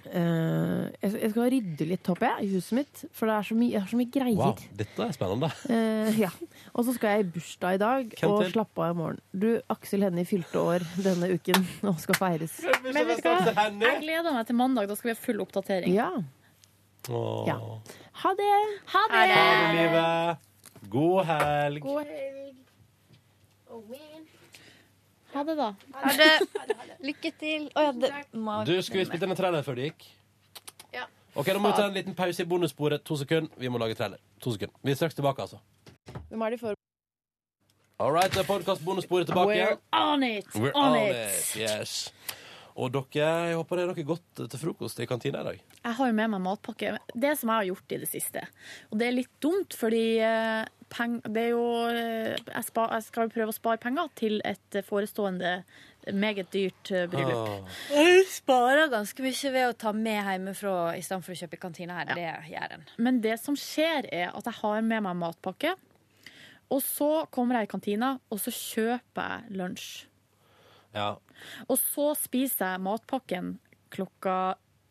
eh, jeg skal- jeg skal rydde litt, håper jeg, i huset mitt. For det er så mye, jeg har så mye greier. Wow, dette er spennende. Eh, ja. Og så skal jeg i bursdag i dag Hvem og til? slappe av i morgen. Du, Aksel Hennie fylte år denne uken og skal feires. Men vet du hva? Jeg gleder meg til mandag. Da skal vi ha full oppdatering. Ja. Åh. Ja. Ha det! Ha Ha det! det, livet. God helg. Ha det, da. Ha det. Lykke til. Å ja, det må Du skulle spilt inn en trailer før du gikk. Ja. Ok, Da må vi ta en liten pause i bonussporet. To sekunder. Vi må lage trailer. To sekunder. Vi er straks tilbake, altså. Hvem er de for? All right, det er podcast bonussporet tilbake. We're on it! We're on on it. Yes. Og dere, jeg håper det er noe godt til frokost i kantina i dag. Jeg har jo med meg matpakke. Det som jeg har gjort i det siste. Og det er litt dumt, fordi eh, peng, det er jo eh, jeg, spa, jeg skal jo prøve å spare penger til et eh, forestående eh, meget dyrt eh, bryllup. Ah. Du sparer ganske mye ved å ta med hjemmefra i stedet for å kjøpe i kantina her. Det gjør en. Men det som skjer, er at jeg har med meg matpakke. Og så kommer jeg i kantina, og så kjøper jeg lunsj. Ja. Og så spiser jeg matpakken klokka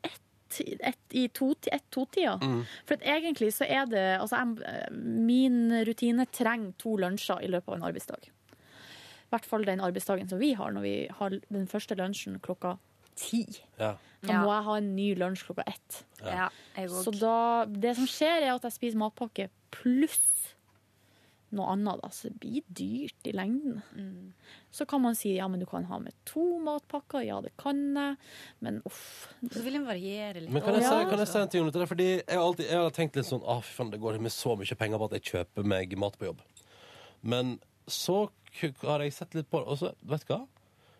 ett, ett i to- ett-to-tida. For at egentlig så er det Altså, jeg, min rutine trenger to lunsjer i løpet av en arbeidsdag. I hvert fall den arbeidsdagen som vi har, når vi har den første lunsjen klokka ti. ja. Da må jeg ha en ny lunsj klokka ett. Ja, jeg Så òg. da, det som skjer, er at jeg spiser matpakke pluss noe annet. Da. Så det blir dyrt i lengden. Så kan man si ja, men du kan ha med to matpakker. Ja, det kan jeg. Men uff. Så vil en variere litt. Men kan jeg, Ja. si, kan jeg si en ting om dette? der? Fordi jeg har alltid jeg har tenkt litt sånn ah, fy faen, Det går med så mye penger på at jeg kjøper meg mat på jobb. Men så k- har jeg sett litt på det, og så Vet du hva?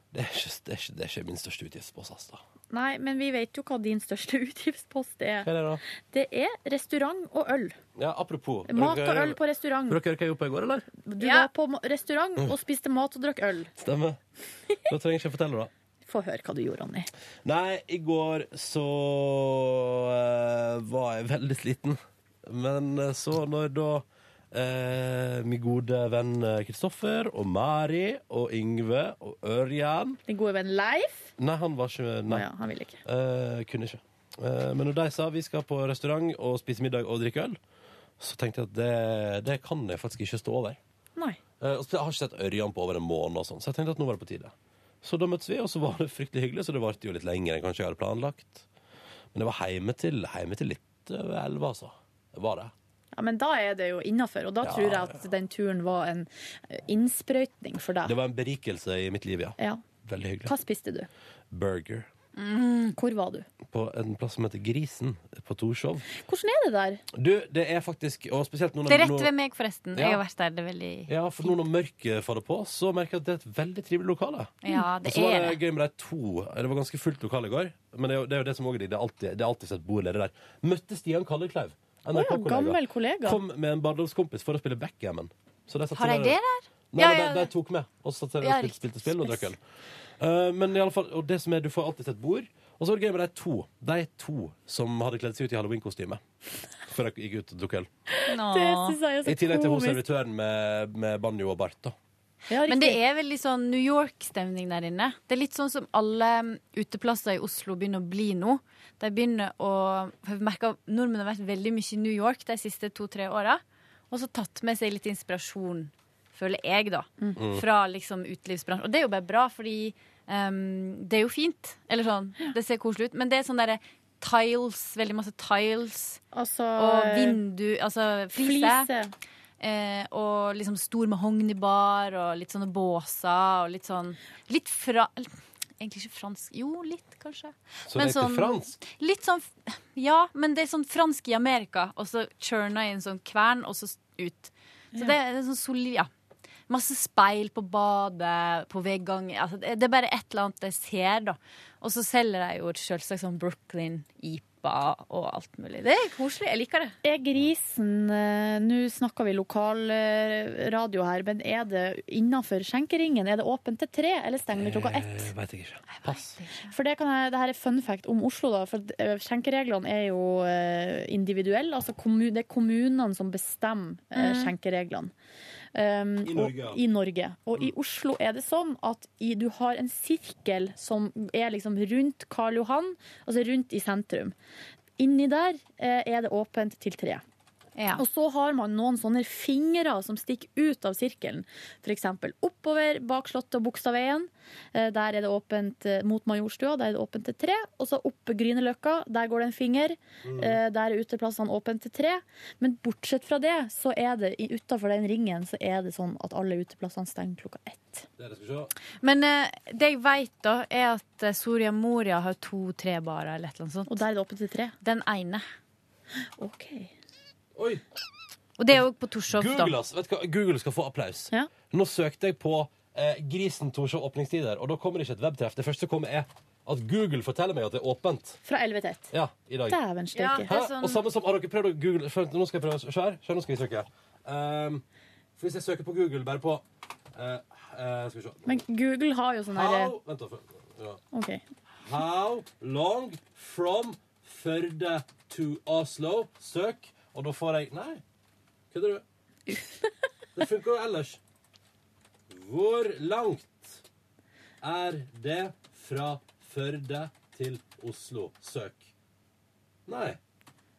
Det er ikke, det er ikke, det er ikke min største utgiftspost. ass, da. Nei, men vi vet jo hva din største utgiftspost er. Hva er det, da? Det er restaurant og øl. Ja, apropos Mat og Dere- øl på restaurant. Dere hva jeg gjorde på i går, eller? Du Ja. var på ma- restaurant og spiste mat og drakk øl. Stemmer. Da trenger jeg ikke fortelle, da. Få høre hva du gjorde, Ronny. Nei, i går så eh, var jeg veldig sliten. Men eh, så når da eh, min gode venn eh, Kristoffer og Mari og Yngve og Ørjan Din gode venn Leif. Nei, han var ikke Nei, Å ja, han ville ikke. eh, kunne ikke. Eh, men når de sa vi skal på restaurant og spise middag og drikke øl, så tenkte jeg at det, det kan jeg faktisk ikke stå over. Nei. Eh, og så Jeg har ikke sett Ørjan på over en måned, og sånn, så jeg tenkte at nå var det på tide. Så da møttes vi, og så var det fryktelig hyggelig, så det varte jo litt lenger enn kanskje jeg hadde planlagt. Men det var hjemme til, hjemme til litt over elleve, altså. Det var det. Ja, men da er det jo innafor, og da Ja, tror jeg at den turen var en eh, innsprøytning for deg. Det var en berikelse i mitt liv, ja. Ja. Veldig Hva hyggelig. spiste du? Burger Mm. Hvor var du? på en plass som heter Grisen på Torshov. Hvordan er det der? Du, det er faktisk Og spesielt nå når Det er rett nå- ved meg, forresten. Ja. Jeg har vært der. Det er veldig Ja, for nå når mørket faller på, så merker jeg at det er et veldig trivelig lokale. Ja, Og det så var er det det. gøy med de to. Det var ganske fullt lokale i går. Men det er jo det, er jo det som også er digg. Det er alltid, det er alltid et bord ledig der. Møtte Stian Kallekleiv. Å ja, gammel NRK-kollega. kollega. Kom med en barndomskompis for å spille backgammon. Så de satt Har seg ned- jeg det der? Nei, Ja, men ja, de- ja. De tok med. Og så satt de og Ja, spilte, riktig. spilte spill og drakk øl. Eh, men i alle fall, og det som er, du får alltid et bord. Og så var det gøy med de to. De to som hadde kledd seg ut i halloweenkostyme. Før de gikk ut og tok øl. Nå. Det synes jeg er så I tillegg til hun komisk. servitøren med, med banjo og bart. da Ja, Men det riktig. er veldig sånn New York-stemning der inne. Det er litt sånn som alle mm, uteplasser i Oslo begynner å bli nå. De begynner å for jeg merker at Nordmenn har vært veldig mye i New York de siste to-tre åra. Og så tatt med seg litt inspirasjon, føler jeg, da. Mm. Fra liksom utelivsbransjen. Og det er jo bare bra, fordi em, det er jo fint. Eller sånn. Det ser koselig ut. Men det er sånn derre tiles. Veldig masse tiles. altså, Og vindu Altså Flise. fliser. Eh, og liksom stor mahognibar og litt sånne båser og litt sånn Litt fra... Egentlig ikke fransk Jo, litt, kanskje. Så det Men heter sånn- fransk. Litt sånn Ja, men det er sånn fransk i Amerika, og så churna i en sånn kvern, og så ut. Så det er en sånn solid Ja. Masse speil på badet, på vegggangen altså, Det det er bare et eller annet jeg ser, da. Og så selger de jo selvsagt sånn Brooklyn IPA og alt mulig. Det er koselig. Jeg liker det. Er grisen eh, Nå snakker vi lokalradio her, men er det innafor skjenkeringen? Er det åpent til tre, eller stenger det klokka ett? Eh, Vet jeg ikke. Pass. For det, kan jeg, det her er fun fact om Oslo, da. For eh, skjenkereglene er jo eh, individuelle. Altså kommu- det er kommunene som bestemmer eh, skjenkereglene. Um, I Norge, ja. Mm. og, I Norge. Og i Oslo er det sånn at i, du har en sirkel som er liksom rundt Karl Johan, altså rundt i sentrum. Inni der eh, er det åpent til tre. Ja. Og så har man noen sånne fingre som stikker ut av sirkelen. F.eks. oppover bak Slottet og Bogstadveien. Eh, Der er det åpent eh, mot Majorstua, der er det åpent til tre. Og så oppe Grünerløkka, der går det en finger. Eh, Der er uteplassene åpent til tre. Men bortsett fra det, så er det utafor den ringen så er det sånn at alle uteplassene stenger klokka ett. Dere skal se. Men eh, det jeg vet da, er at eh, Soria Moria har to-tre barer eller et eller annet sånt. Og der er det åpent til tre. Den ene. OK. Oi, Og det er jo på Torshov, da. Google, ass. Vet du hva? Google skal få applaus. Ja. Nå søkte jeg på eh, Grisen Torshov åpningstider, og da kommer det ikke et webtreff. Det første som kommer, er at Google forteller meg at det er åpent. Fra elleve til ett. Ja, i dag. Dæven steike. Ja. Hæ? Det er sånn- Og samme som, har dere prøvd å google Skjønt, Nå skal jeg prøve å se her. Skjønn, nå skal vi søke. Um, for hvis jeg søker på Google, bare på eh, eh, Skal vi se. Men Google har jo sånn herre How Vent, da. for- Ja. OK. How long from Førde to Oslo? Søk, og da får jeg Nei, kødder du? Det funker jo ellers. Hvor langt er det fra Førde til Oslo? Søk. Nei.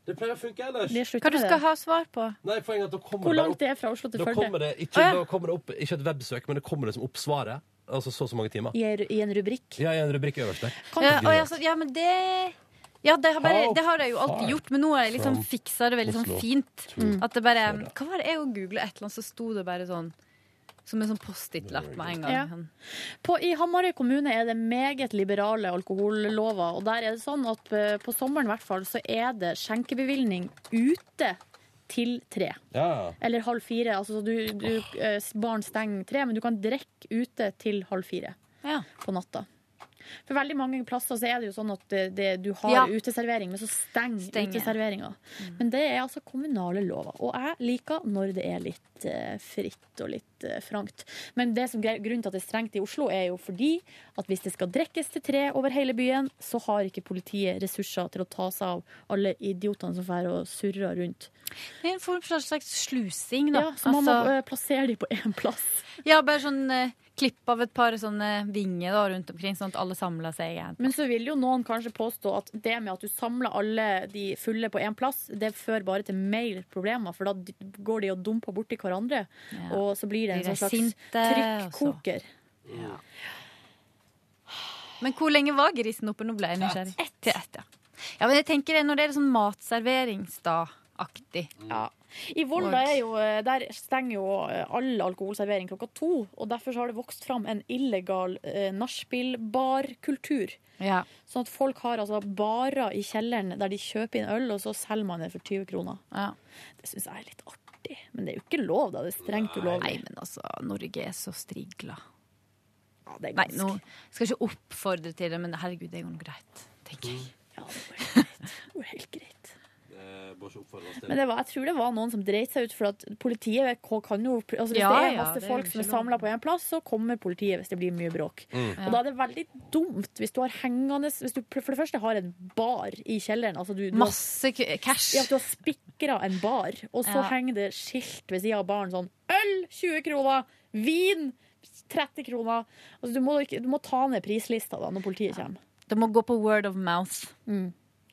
Det pleier å funke ellers. Det slutter Hva du med det. skal ha svar på? Nei, poenget er at da kommer Hvor det langt opp- det er fra Oslo til da Førde? kommer det, ikke, Å, ja. da kommer det opp, ikke et websøk, men det kommer liksom opp svaret. Altså så og så mange timer. I, en- I en rubrikk. Ja, i en rubrikk øverst der. Ja, Eh, og jeg, sa, ja, men det ja, det har, bare, altså. How det har jeg jo alltid far gjort, men nå har jeg liksom from fiksa det veldig sånn Oslo fint. to At det bare Florida? Hva var det jeg googla et eller annet, så sto det bare sånn som en sånn Post-It-lapp med en gang. Ja. Sånn. På, I Hamarøy kommune er det meget liberale alkohollover. Og der er det sånn at eh, på sommeren i hvert fall så er det skjenkebevilgning ute til tre. Ja. Eller halv fire. Altså så du, du, eh, barn stenger tre, men du kan drikke ute til halv fire Ja. på natta. For veldig mange plasser så er det jo sånn at det, det, du har Ja. uteservering, men så stenger, Stenger. Mm. uteserveringa. Men det er altså kommunale lover. Og jeg liker når det er litt eh, fritt og litt eh, frankt. Men det som, gre- grunnen til at det er strengt i Oslo, er jo fordi at hvis det skal drikkes til tre over hele byen, så har ikke politiet ressurser til å ta seg av alle idiotene som drar og surrer rundt. Det er en form for slags slusing, da. Ja, så man må altså, eh, plassere dem på én plass. ja, bare sånn eh, klipp av et par sånne vinger da, rundt omkring, sånn at alle samler seg igjen. Men så vil jo noen kanskje påstå at det med at du samler alle de fulle på én plass, det fører bare til mer problemer, for da d- går de og dumper borti hverandre. Ja. Og så blir det en Blir de sånn slags sinte, altså. og så- trykkoker. Men hvor lenge var grisen oppe? Nå ble jeg nysgjerrig. Til ett, ja. ja. Men jeg tenker det, når det er sånn matserveringsdag-aktig Ja. I Volda er jo, eh, der stenger jo eh, all alkoholservering klokka to. Og derfor så har det vokst fram en illegal eh, nachspiel-barkultur. ja. Sånn at folk har altså barer i kjelleren der de kjøper inn øl, og så selger man det for 20 kroner. ja. Det syns jeg er litt artig. Men det er jo ikke lov, da. Det er strengt ulovlig. Nei, men altså, Norge er så strigla. Ja, det er Nei, ganske- nå skal jeg ikke oppfordre til det, men herregud, det er jo noe greit, tenker jeg. Ja, det går helt greit. Men det var, jeg tror det var noen som dreit seg ut, for at politiet vet hva- kan jo altså Hvis Ja, det er ja, masse det er jo folk ikke som er samla noe- på én plass, så kommer politiet hvis det blir mye bråk. Og da er det veldig dumt hvis du har hengende Hvis du for det første har en bar i kjelleren. Altså du, du har, Masse k- cash. ja, du har spikra en bar, og så Ja. henger det skilt ved sida av baren sånn Øl 20 kroner! Vin 30 kroner! Altså, du, må, ikke- du må ta ned prislista da når politiet kommer. Det må gå på word of mouth.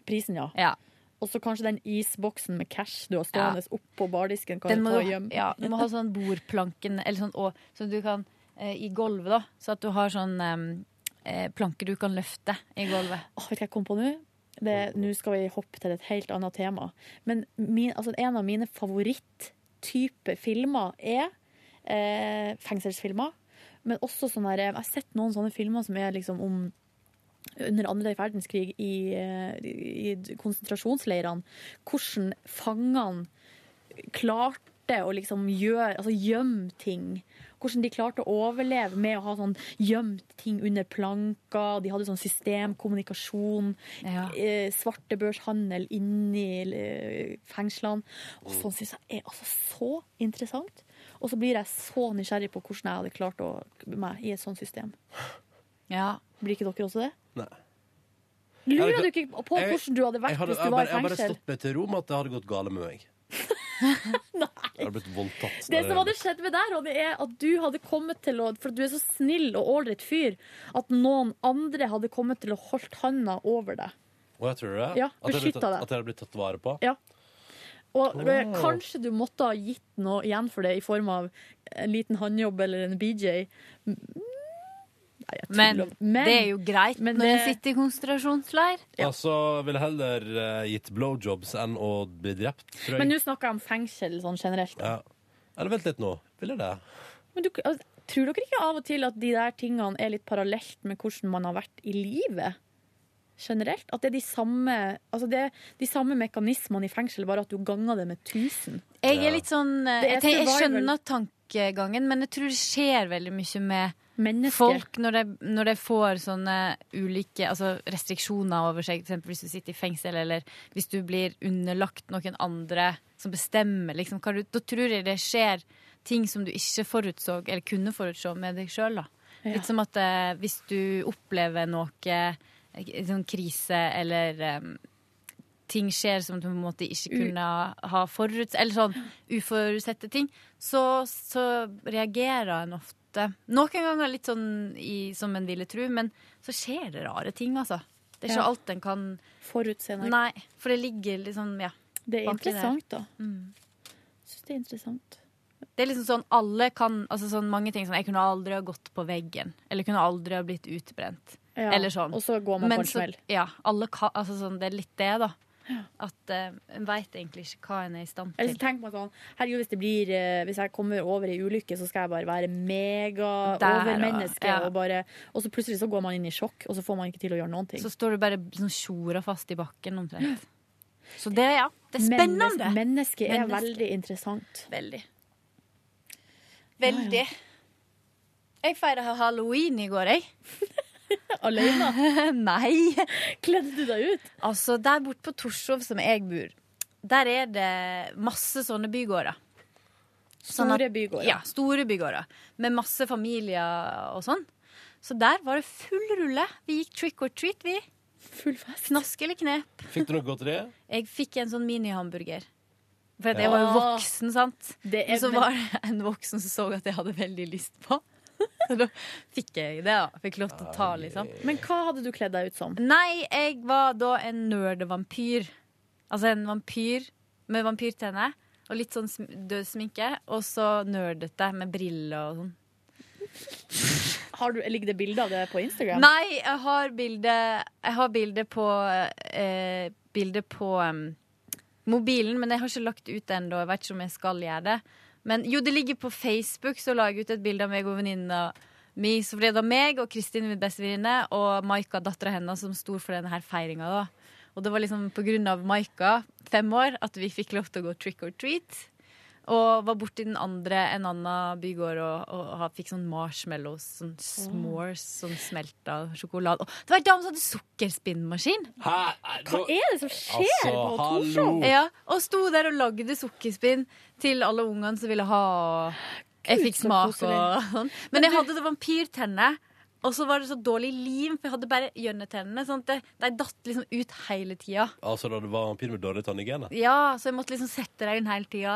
Prisen, ja. Ja. Og så kanskje den isboksen med cash du har stående oppå bardisken. Kan du Den må ta du, hjem. ja, du må ha sånn bordplanken eller sånn, og, så du kan eh, i gulvet, da. Så at du har sånn eh, planke du kan løfte i gulvet. Åh, vet du hva jeg kom på nå? Det, nå skal vi hoppe til et helt annet tema. Men min, altså, en av mine favoritttyper filmer er eh, fengselsfilmer. Men også sånne her, jeg har sett noen sånne filmer som er liksom om under andre verdenskrig i, eh, i konsentrasjonsleirene. Hvordan fangene klarte å liksom gjøre, altså gjemme ting. Hvordan de klarte å overleve med å ha sånn gjemt ting under planker. De hadde sånn system, kommunikasjon, Ja. eh, svartebørshandel inni eh, fengslene. Og sånn syns jeg er altså så interessant. Og så blir jeg så nysgjerrig på hvordan jeg hadde klart å, meg i et sånt system. Ja. Blir ikke dere også det? Nei. Lurer Jeg- du ikke på jeg- hvordan du hadde vært Jeg hadde, hvis du jeg var bare, i jeg bare fengsel? stått meg til ro med at det hadde gått gale med meg. Jeg Nei. hadde blitt voldtatt. Det som hadde skjedd med deg, Ronny, er at du hadde kommet til å For du er så snill og ålreit fyr at noen andre hadde kommet til å holdt handa over deg. Og jeg tror det. Ja, at, jeg hadde blitt tatt, beskyttet deg. at jeg hadde blitt tatt vare på. Og eh, Åh. kanskje du måtte ha gitt noe igjen for det i form av en liten håndjobb eller en BJ. Mm, Nei, jeg Men, tuller. Men det er jo greit men når en det- sitter i konsentrasjonsleir. Altså, ville heller eh, gitt blowjobs enn å bli drept, tror men jeg. nå snakker jeg om fengsel sånn generelt. Ja. Eller vent litt nå. Ville det? Men du, altså, tror dere ikke av og til at de der tingene er litt parallelt med hvordan man har vært i livet? Generelt? At det er de samme, altså det er de samme mekanismene i fengsel, bare at du ganger det med 1000? Jeg Ja. er litt sånn eh, Det er jeg, tenker, jeg survival. skjønner tankegangen, men jeg tror det skjer veldig mye med Mennesker. folk når de, når de får sånne ulike altså restriksjoner over seg. For eksempel hvis du sitter i fengsel, eller hvis du blir underlagt noen andre som bestemmer. Liksom, hva du, da tror jeg det skjer ting som du ikke forutså, eller kunne forutså med deg sjøl. Ja. Litt som at eh, hvis du opplever noe eh, sånn krise eller eh, ting skjer som du på en måte ikke kunne ha foruts... Eller sånn uforutsette ting, så, så reagerer en ofte måte Noen ganger litt sånn i, som en ville tro, men så skjer det rare ting, altså. Det er ikke Ja. alt en kan Forutseende. Nei, for det ligger liksom Ja. Det er bak det der. interessant, da. Mm. Syns det er interessant. Det er liksom sånn alle kan Altså sånn mange ting sånn Jeg kunne aldri ha gått på veggen. Eller kunne aldri ha blitt utbrent. Ja. Eller sånn. Og så går man på Men en så- smell. Ja. Alle kan Altså sånn, det er litt det, da. At eh, en veit egentlig ikke hva en er i stand Eller til. så tenker man sånn Herregud, hvis, det blir, eh, hvis jeg kommer over ei ulykke, så skal jeg bare være mega Der, og- overmenneske. ja. Og, bare, og så plutselig så går man inn i sjokk, og så får man ikke til å gjøre noen ting. Så står du bare liksom tjora fast i bakken omtrent. Så det, ja. Det er spennende. Menneske, mennesket er Menneske. veldig interessant. Veldig. Veldig. Jeg feira halloween i går, jeg. Alene Nei. kledde du deg ut. Altså, der borte på Torshov, som jeg bor, der er det masse sånne bygårder. Sånn at- Store bygårder. Ja, store bygårder. Med masse familier og sånn. Så der var det full rulle. Vi gikk trick or treat, vi. Full fest. Knask eller knep. Fikk du noe godteri? Jeg fikk en sånn mini-hamburger. For at jeg var jo voksen, sant. Det Men er så var det en voksen som så at jeg hadde veldig lyst på. Så da fikk jeg det, da. Fikk lov til å ta, liksom. Men hva hadde du kledd deg ut som? Nei, jeg var da en nerdevampyr. Altså en vampyr med vampyrtenner og litt sånn sm død sminke. Og så nerdete med briller og sånn. Har du, ligger det bilde av det på Instagram? Nei, jeg har bilde Jeg har bilde på eh, Bilde på em, mobilen, men jeg har ikke lagt ut det ennå. Jeg vet ikke om jeg skal gjøre det. Men jo, det ligger på Facebook, så la jeg ut et bilde av meg og venninna mi. Så ble det meg og Kristin, min beste venninne, og Maika, dattera hennes, som sto for denne her feiringa, da. Og det var liksom på grunn av Maika, fem år, at vi fikk lov til å gå trick or treat. Og var borti den andre, en annen bygård og, og, ha- fikk sånn marshmallows, sånn smores, sånn smelta sjokolade. Og det var en dame som hadde sukkerspinnmaskin! Hva Hva er det som skjer på Torshov? hallo! Ja, og sto der og lagde sukkerspinn til alle ungene som ville ha. og Jeg fikk så smak og koselig. sånn. Men jeg hadde det vampyrtenner. Og så var det så dårlig lim, for jeg hadde bare gjønnetennene. Sånn at det- de datt liksom ut hele tida. Altså da det var vampyr med dårlig tannhygiene? Ja, så jeg måtte liksom sette dem inn hele tida.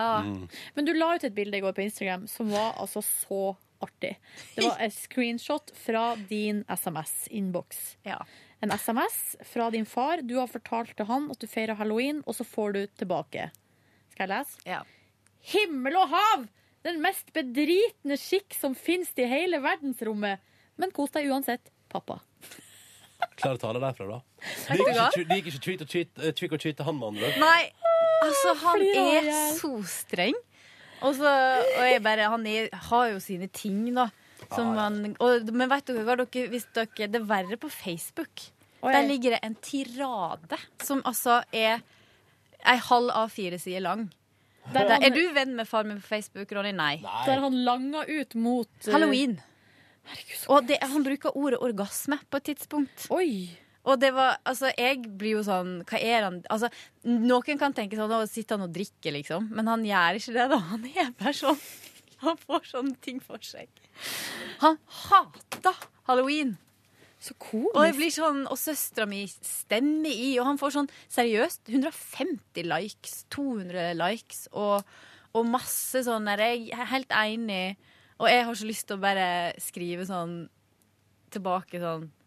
Men du la ut et bilde i går på Instagram som var altså så artig. Det var et screenshot fra din SMS-innboks. Ja. En SMS fra din far. Du har fortalt til han at du feirer halloween, og så får du tilbake. Skal jeg lese? Ja. Himmel og hav! Den mest bedritne skikk som finnes i hele verdensrommet. Men kos deg uansett, pappa. Klar tale derfra, da. Det gikk hva? ikke, det gikk ikke treat or treat, eh, trick or treat til han med andre. Nei, altså han flirer jeg i er hjel. så streng. Og, så, og jeg bare, han er, har jo sine ting, da. Som han, og, men vet dere hva, dere, hvis dere Det er verre på Facebook. Oi. Der ligger det en tirade som altså er ei halv A4-side lang. Der Der, er han, du venn med far min på Facebook, Ronny? Nei. der han langa ut mot eh, Halloween. Herregud, så- Og det, han bruker ordet orgasme på et tidspunkt. Oi! Og det var, altså jeg blir jo sånn Hva er han altså, Noen kan tenke sånn, å sitter han og drikker liksom Men han gjør ikke det da, han er bare sånn Han får sånne ting for seg Han hater Halloween Så Og jeg komisk. blir sånn, og søstra mi stemmer i Og han får sånn, seriøst 150 likes, 200 likes Og, og masse sånn der, Jeg er helt enig Og jeg har så lyst til å bare skrive sånn Tilbake sånn eh,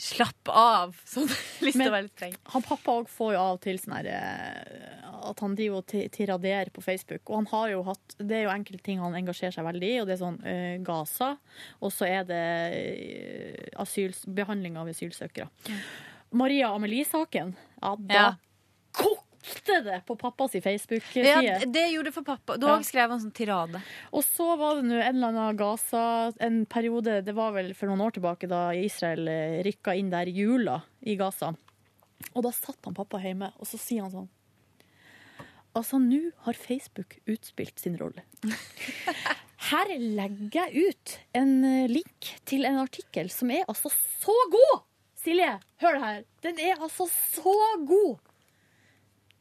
Slapp av. Sånn, lyst til Men- å være litt streng. han pappa òg får jo av og til sånn her eh, At han driver og ti- tiraderer på Facebook. Og han har jo hatt Det er jo enkelte ting han engasjerer seg veldig i, og det er sånn eh, Gaza, og så er det eh, asyls, behandling av asylsøkere. Maria Amelie-saken. Ja, da Ja. kokte det på pappas Facebook-side. Ja, det gjorde det for pappa. Da Ja. skrev han sånn tirade. Og så var det nå en eller annen Gaza En periode, det var vel for noen år tilbake Da Israel eh, rykket inn der i jula I Gaza Og da satt han pappa hjemme Og så sier han sånn Altså nå har Facebook utspilt sin rolle Her legger jeg ut En eh, link til en artikkel Som er altså så god Silje, hør det her Den er altså så god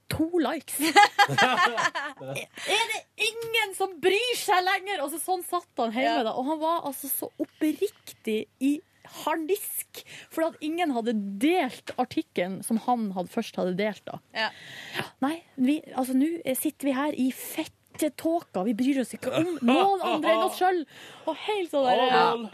To likes er det ingen som bryr seg lenger? Og så sånn satt han hjemme, da. Og han var altså så oppriktig i harnisk, for at ingen hadde delt artikkelen som han hadde først hadde delt, da. Ja. Nei, vi, altså nå sitter vi her i fett lite tåka, vi bryr oss ikke om noen andre enn oss sjøl. Og helt sånn der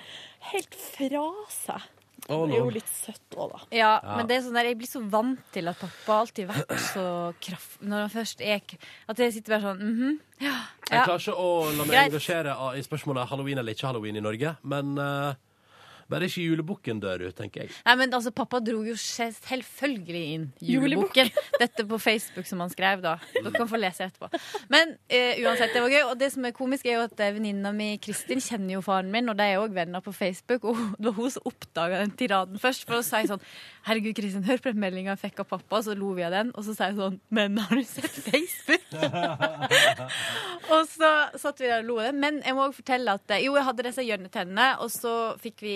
Helt fra seg. Å, Det er jo lol. litt søtt òg, da. Ja, men det er sånn der, jeg blir så vant til at pappa alltid har vært så kraft... Når han først er k- At jeg sitter bare sånn mhm, ja, Jeg ja. klarer ikke å la meg Greit. engasjere av- i spørsmålet halloween eller ikke halloween i Norge, men eh, bare ikke julebukken dør ut, tenker jeg. Nei, men altså, pappa dro jo seg selvfølgelig inn julebukken. Dette på Facebook som han skrev, da. Dere kan få lese etterpå. Men eh, uansett, det var gøy. Og det som er komisk, er jo at eh, venninna mi Kristin kjenner jo faren min, og de er òg venner på Facebook. Og hun- det var hun som oppdaga den tiraden først. For da sa jeg sånn Herregud, Kristin, hør på den meldinga jeg fikk av pappa. Så lo vi av den. Og så sa jeg sånn Men har du sett Facebook? Og så satt vi der og lo av det. Men jeg må også fortelle at eh, jo, jeg hadde disse hjørnetennene, og så fikk vi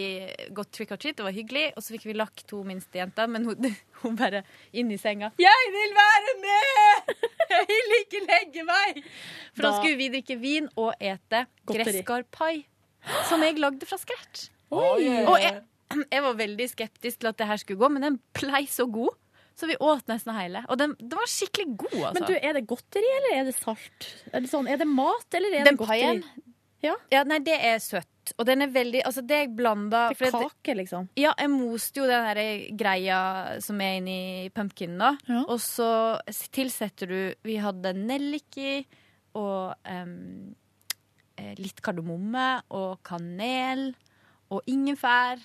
gått trick or treat, det var hyggelig, og så fikk vi lagt to minste jenter, men hun, hun bare inn i senga. 'Jeg vil være med! Jeg vil ikke legge meg!' For da, Da- skulle vi drikke vin og ete Godteri. gresskarpai, som jeg lagde fra scratch. Og jeg, jeg var veldig skeptisk til at det her skulle gå, men den blei så god. Så vi åt nesten hele. Og den, den var skikkelig god, altså. Men du, er det godteri, eller er det salt? Er det, sånn, er det mat, eller er Den det godteri? paien? Ja. Ja, nei, det er søtt. Og den er veldig Altså, det er blanda Det er kake, liksom. Ja, jeg moste jo den der greia som er inni pumpkinen, da. Ja. Og så s- tilsetter du Vi hadde nellik i, og em, eh, litt kardemomme, og kanel, og ingefær.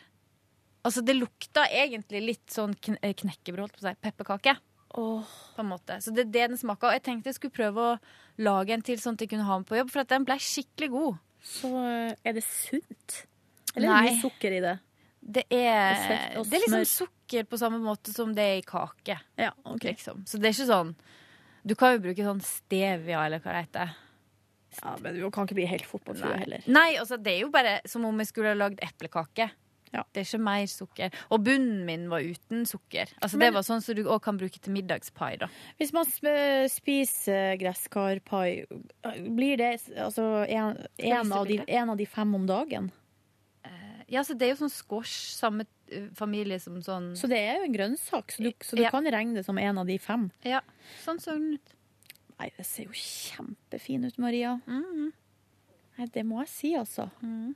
Altså, det lukta egentlig litt sånn kn eh, knekkebrød, holdt på å si. Pepperkake Åh, på en måte. Så det er det den smaker. Og jeg tenkte jeg skulle prøve å lage en til sånn at jeg kunne ha den på jobb, for at den ble skikkelig god. så eh, er det sunt? Eller er Nei. det mye sukker i det? Det er, Og fett og det er liksom smør. sukker på samme måte som det er i kake. Ja, ok. Liksom. Så det er ikke sånn Du kan jo bruke sånn stevia eller hva det heter. Ja, men du kan ikke bli helt fort på flua heller. Nei, altså det er jo bare som om jeg skulle ha lagd eplekake. Ja. Det er ikke mer sukker. Og bunnen min var uten sukker. Altså Det Men- var sånn som du òg kan bruke til middagspai. da Hvis man sp- spiser gresskarpai, blir det altså en, en, vise av de, bildet? en av de fem om dagen? Ja, så Det er jo sånn squash, samme eh, familie som sånn Så det er jo en grønnsak, så du, så du Ja. kan regne det som en av de fem. Ja, sånn så den ut. Nei, det ser jo kjempefin ut, Maria. Mm-hmm. Nei, det må jeg si, altså. Mm.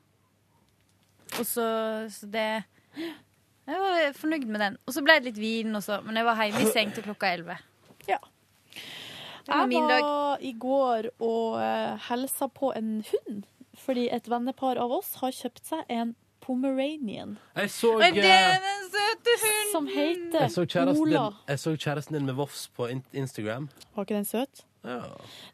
Og så, så det Jeg var fornøyd med den. Og så ble det litt vin også, men jeg var hjemme i seng til klokka elleve. Ja. Det var min dag. i går og uh, helsa på en hund, fordi et vennepar av oss har kjøpt seg en Pomeranian Jeg så, Men det eh, er den søte hunden! som jeg så, heter kjæresten, Ola. din, jeg så kjæresten din med Vofs på in Instagram. Var ikke den søt? Ja.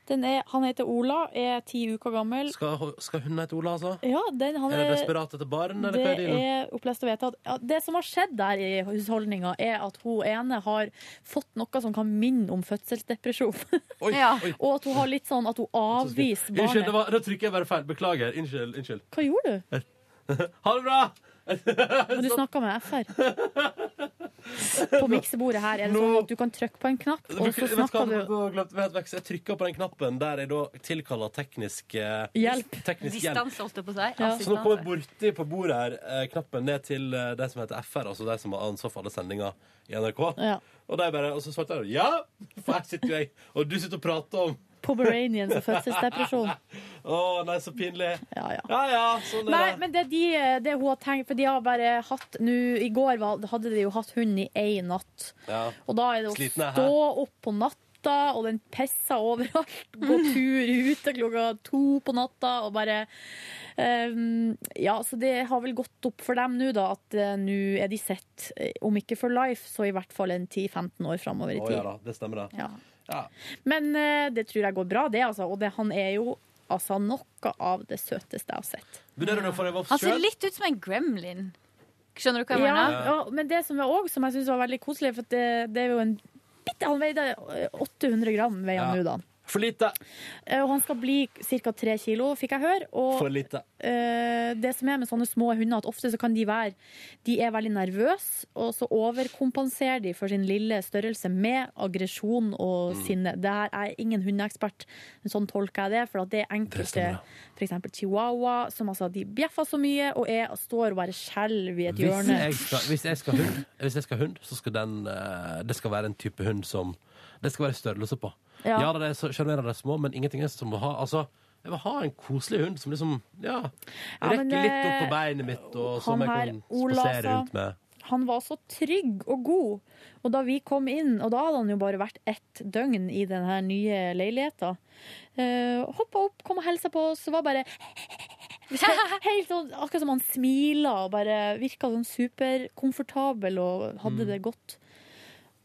Den er, han heter Ola, er ti uker gammel. Skal, ho- skal hun hete Ola, altså? Ja, den, han Er det er, desperat etter barn, eller hva er Eh, det dealen? er opplest og vedtatt. Ja, det som har skjedd der i husholdninga, er at hun ene har fått noe som kan minne om fødselsdepresjon. Oi, Ja. oi. Og at hun har litt sånn at hun avviser Unnskyld, det barnet. var, da trykker jeg bare feil. Beklager. Unnskyld. unnskyld. Hva gjorde du? Ha det bra! Men du sånn? snakka med FR. På miksebordet her er det sånn at du kan trykke på en knapp, og Vet så du hva, snakker nå du har jeg glemt- vet du hva, Jeg trykka på den knappen der jeg da tilkaller teknisk eh, Hjelp. Teknisk hjelp. Distanse, holdt jeg på å si. Ja. Så nå Assistanse. kommer jeg borti på bordet her eh, knappen ned til eh, de som heter FR, altså de som har ansvar for alle sendinger i NRK. ja. Og, de bare, og så svarte jeg ja! For her sitter jo jeg, og du sitter og prater om Pomeranians og fødselsdepresjon. Å, nei, så pinlig. Ja, ja. Ja ja, sånn er Nei, det. men det, er de, det hun har tenkt For de har bare hatt nå, I går var, hadde de jo hatt hund i én natt. Ja. Og da er det å Sliten er stå opp på natta, og den pisser overalt. Gå tur ute klokka to på natta og bare ehm, Ja, så det har vel gått opp for dem nå, da, at eh, nå er de sett, eh, om ikke for life, så i hvert fall en 10-15 år framover i Å tid. ja da, det stemmer, det. Ja. Ja. Men eh, det tror jeg går bra, det, altså. Og det, han er jo altså noe av det søteste jeg har sett. Vurderer du å få deg Altså, Han Vofs ser sjøl? litt ut som en gremlin. Skjønner du hva jeg Ja, mener? ja, men det som er også, som jeg synes var veldig koselig, for at det, det er jo en bitte Han veide 800 eh, gram, veier Ja. han nå, da. For lite. Eh, Og han skal bli ca. 3 kilo, fikk jeg høre. Og For lite. eh, det som er med sånne små hunder, at ofte så kan de være De er veldig nervøse, og så overkompenserer de for sin lille størrelse med aggresjon og Mm. sinne. Det her er ingen hundeekspert, men sånn tolker jeg det. For at det er enkelte, stemmer, f.eks. chihuahua, som altså de bjeffer så mye og er, står og bare skjelver i et Hvis hjørne. jeg, skal, hvis, jeg skal hund, hvis jeg skal hund, så skal den eh, Det skal være en type hund som Det skal være størrelse på. Ja, Ja. da, de er så sjarmerende de små, men ingenting er som å ha Altså, jeg vil ha en koselig hund som liksom Ja, Ja, rekker men, litt opp på eh, beinet mitt, og han som jeg her, kan Ola, spasere altså. rundt med. Han var så trygg og god. Og da vi kom inn, og da hadde han jo bare vært ett døgn i den her nye leiligheta, uh, hoppa opp, kom og hilsa på oss, og var bare Helt sånn, Akkurat som han smila og bare virka sånn superkomfortabel og hadde det godt.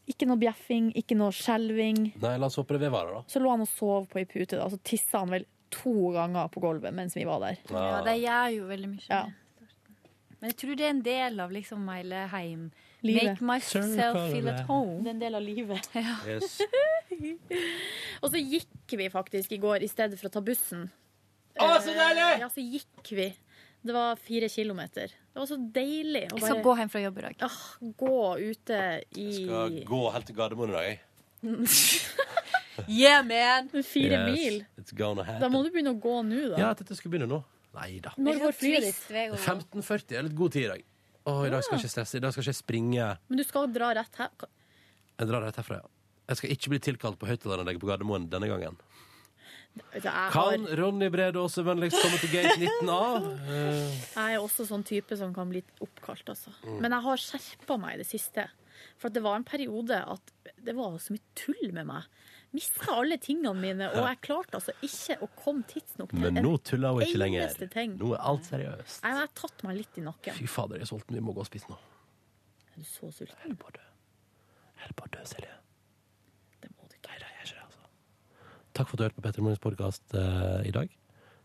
Ikke noe bjeffing, ikke noe skjelving. Nei, la oss håpe det vedvarer, da. Så lå han og sov på ei pute, da, og så tissa han vel to ganger på gulvet mens vi var der. Ja, de gjør jo veldig mye. Ja. Men jeg tror det er en del av liksom hele heim. Livet. Make myself Circle feel at around. home. Det er en del av livet. Yes. Og så gikk vi faktisk i går i stedet for å ta bussen. Å, så deilig! Eh, Ja, så gikk vi. Det var fire kilometer. Det var så deilig å Jeg bare skal gå hjem fra jobb i dag. Ah, gå ute i Skal gå helt til Gardermoen i dag, jeg. Yeah, man! fire Yes, mil. It's gonna happen. Da må du begynne å gå nå, da. Ja, jeg tenkte jeg skulle begynne nå. Nei da. Når går flyet ditt? Trist vei å- 15.40 er litt god tid i dag. Å, i dag skal jeg ikke stresse. I dag skal jeg ikke springe. Men du skal dra rett her. Ka- Jeg drar rett herfra, ja. Jeg skal ikke bli tilkalt på høyttaleranlegget på Gardermoen denne gangen. Vet du, Jeg, har, Kan Ronny Brede også vennligst komme til gate 19A? jeg er også sånn type som kan bli oppkalt, altså. Mm. Men jeg har skjerpa meg i det siste. For at det var en periode at det var så mye tull med meg. Mista alle tingene mine, og jeg klarte altså ikke å komme tidsnok til Men en nå tuller hun ikke lenger. eneste ting. Nå er alt seriøst. Nei, men jeg har tatt meg litt i nakken. Fy fader, jeg er sulten. Vi må gå og spise nå. Er du så sulten? Jeg er bare død. Jeg er bare død, Silje. Det må du ikke. Nei, det er ikke det, altså. Takk for at du hørte på Petter Morgens podkast i dag.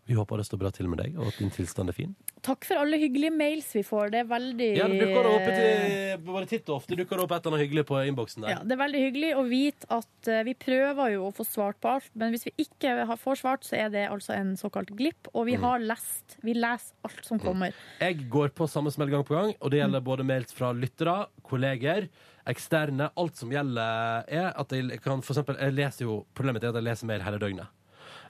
Vi håper det står bra til med deg, og at din tilstand er fin. Takk for alle hyggelige mails vi får. Det er veldig eh, Ja, det dukker opp et, eh, bare titt og ofte dukker det opp et eller annet hyggelig på innboksen der. Ja, det er veldig hyggelig å vite at eh, vi prøver jo å få svart på alt, men hvis vi ikke har- får svart, så er det altså en såkalt glipp. Og Mm. vi har lest. Vi leser alt som kommer. Jeg går på samme smell gang på gang, og det gjelder både mails fra lyttere, kolleger, eksterne. Alt som gjelder, er at jeg kan for eksempel jeg leser jo, Problemet mitt er at jeg leser mail hele døgnet.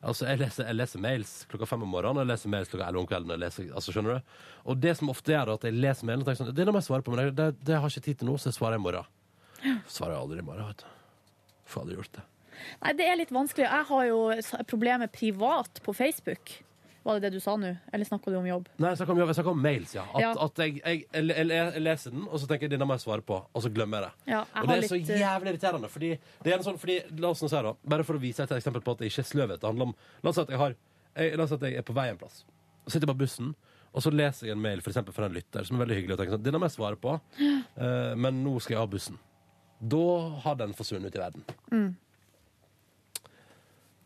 Altså, jeg leser, jeg leser mails klokka fem om morgenen og jeg leser mails klokka elleve om kvelden. og Jeg leser, altså, skjønner du? Og det som ofte gjør at jeg leser mailen, og tenker sånn, det må jeg svare på, men det, det, det har jeg ikke tid til nå, så jeg svarer i morgen. Svarer jeg aldri i morgen, vet du. Får aldri gjort det. Nei, det er litt vanskelig. Jeg har jo s- problemer privat på Facebook. Var det det du sa nå? Eller snakka du om jobb? Nei, jeg snakker om, jobb, jeg snakker om mails, ja. At, Ja. at jeg, jeg, jeg, jeg, jeg leser den, og så tenker jeg denne må jeg svare på, og så glemmer jeg det. Ja, jeg Og det har er så litt eh, jævlig irriterende. Fordi, det er en sånn, fordi, la oss nå si da, Bare for å vise et eksempel på at det ikke er sløvhet. Det handler om, la oss si at jeg, har, jeg, la oss si at jeg er på vei en plass. Og sitter på bussen, og så leser jeg en mail for eksempel, fra en lytter som er veldig hyggelig. og tenker sånn, Denne må jeg svare på, eh, men nå skal jeg av bussen. Da har den forsvunnet ut i verden.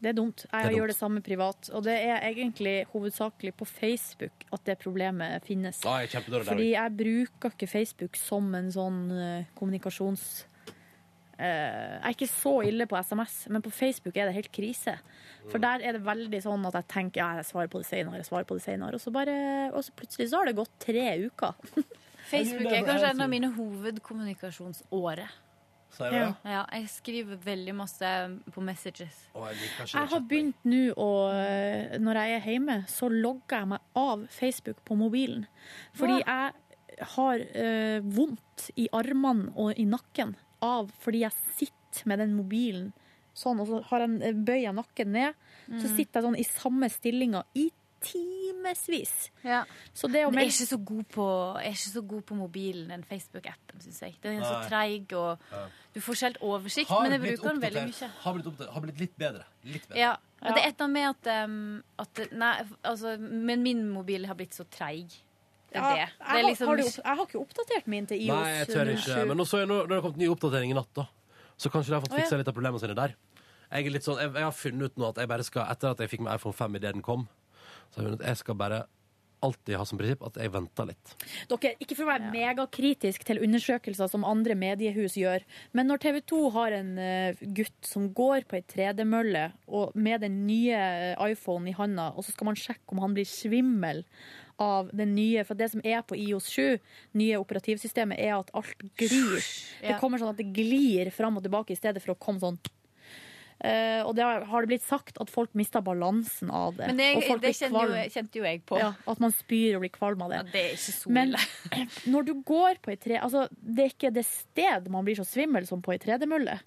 Det er dumt. Jeg Det er gjør dumt. det samme privat. Og det er egentlig hovedsakelig på Facebook at det problemet finnes. Da er jeg kjempedårlig der. Fordi jeg bruker ikke Facebook som en sånn eh, kommunikasjons... Eh, jeg er ikke så ille på SMS, men på Facebook er det helt krise. For der er det veldig sånn at jeg tenker ja, jeg svarer på det senere, jeg svarer på det senere. Og så, bare, og så plutselig så har det gått tre uker. Facebook er kanskje en av mine hovedkommunikasjonsårer. Sier du det? Ja, jeg skriver veldig masse eh, på messages. Å, jeg liker ikke Jeg har det. begynt nå å eh, Når jeg er hjemme, så logger jeg meg av Facebook på mobilen. Fordi jeg har eh, vondt i armene og i nakken av fordi jeg sitter med den mobilen sånn, og så har jeg, en- bøyer jeg nakken ned. Mm. Så sitter jeg sånn i samme stillinga i timevis. Ja. Så det å Men jeg er melde ikke så god på, jeg er ikke så god på mobilen, den Facebook-appen, syns jeg. Den er så Nei. treig, og du får ikke helt oversikt, Har men jeg blitt bruker den veldig oppdatert. mye. Har blitt, oppdatert. har blitt litt bedre. Litt bedre. Ja. Og Ja. det er et eller annet med at, um, at Nei, altså, men min mobil har blitt så treig. Det Ja, er det. jeg, Det er har, liksom har du, opp- jeg har ikke oppdatert min til IOS. Nei, jeg tør ikke. 07. Men nå så jeg, nå, når det har kommet ny oppdatering i natt, da. Så kanskje de har fått Å, ja. fiksa litt av problemene sine der. Jeg, er litt sånn, jeg, jeg har funnet ut nå at jeg bare skal, etter at jeg fikk med iPhone 5 idet den kom, så har jeg funnet ut jeg skal bare alltid ha som prinsipp at jeg venter litt. Dere, ikke for å være megakritisk til undersøkelser som andre mediehus gjør, men når TV 2 har en eh, gutt som går på ei tredemølle og med den nye eh, iPhonen i handa, og så skal man sjekke om han blir svimmel av den nye For det som er på IOS 7, nye operativsystemet, er at alt glir. Det Ja. kommer sånn at det glir fram og tilbake i stedet for å komme sånn Eh, og det har har det blitt sagt at folk mister balansen av det. Men det, og folk det blir kjenner jo, kvalm. kjente jo jeg på. Ja, at man spyr og blir kvalm av det. Ja, det er ikke så Men ille. når du går på ei tre... Altså, det er ikke det sted man blir så svimmel som på ei tredemølle.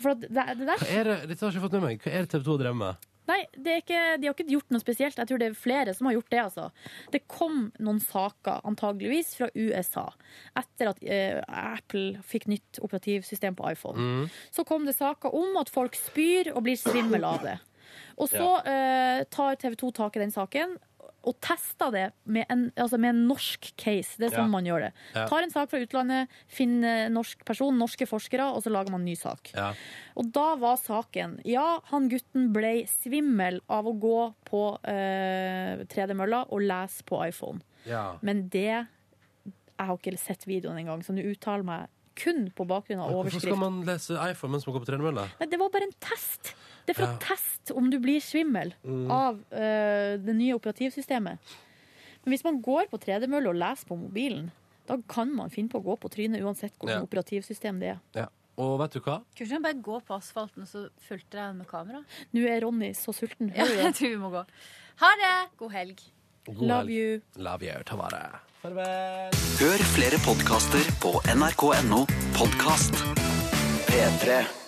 For at det, det der Hva er det, Dette har jeg ikke fått med meg. Hva er det TV 2 drev med? Nei, det er ikke, de har ikke gjort noe spesielt. Jeg tror det er flere som har gjort det. altså. Det kom noen saker, antageligvis fra USA, etter at eh, Apple fikk nytt operativsystem på iPhone. Mm. Så kom det saker om at folk spyr og blir svimmel av det. Og så eh, tar TV 2 tak i den saken og tester det med en, altså med en norsk case. Det er sånn Ja. man gjør det. Ja. Tar en sak fra utlandet, finner norsk person, norske forskere, og så lager man en ny sak. Ja. Og da var saken Ja, han gutten ble svimmel av å gå på eh, 3D-mølla og lese på iPhone. Men det Jeg har ikke sett videoen engang, så nå uttaler jeg meg kun på bakgrunn av Hvorfor skal overskrift. man lese iPhone mens man går på tredemølle? Nei, det var bare en test! Det er for Ja. Mm. å teste om du blir svimmel av eh, det nye operativsystemet. Men hvis man går på 3D-mølla og leser på mobilen, da kan man finne på å gå på trynet uansett hvilket Ja. operativsystem det er. Ja. Og vet du hva? Kunne ikke han bare gå på asfalten, og så fulgte jeg med kamera? Nå er Ronny så sulten. Ja, Hører du det? jeg tror vi må gå. Ha det! God helg. God Love helg. you. Love you. Ta vare. Hør flere podkaster på nrk.no podkast. P3.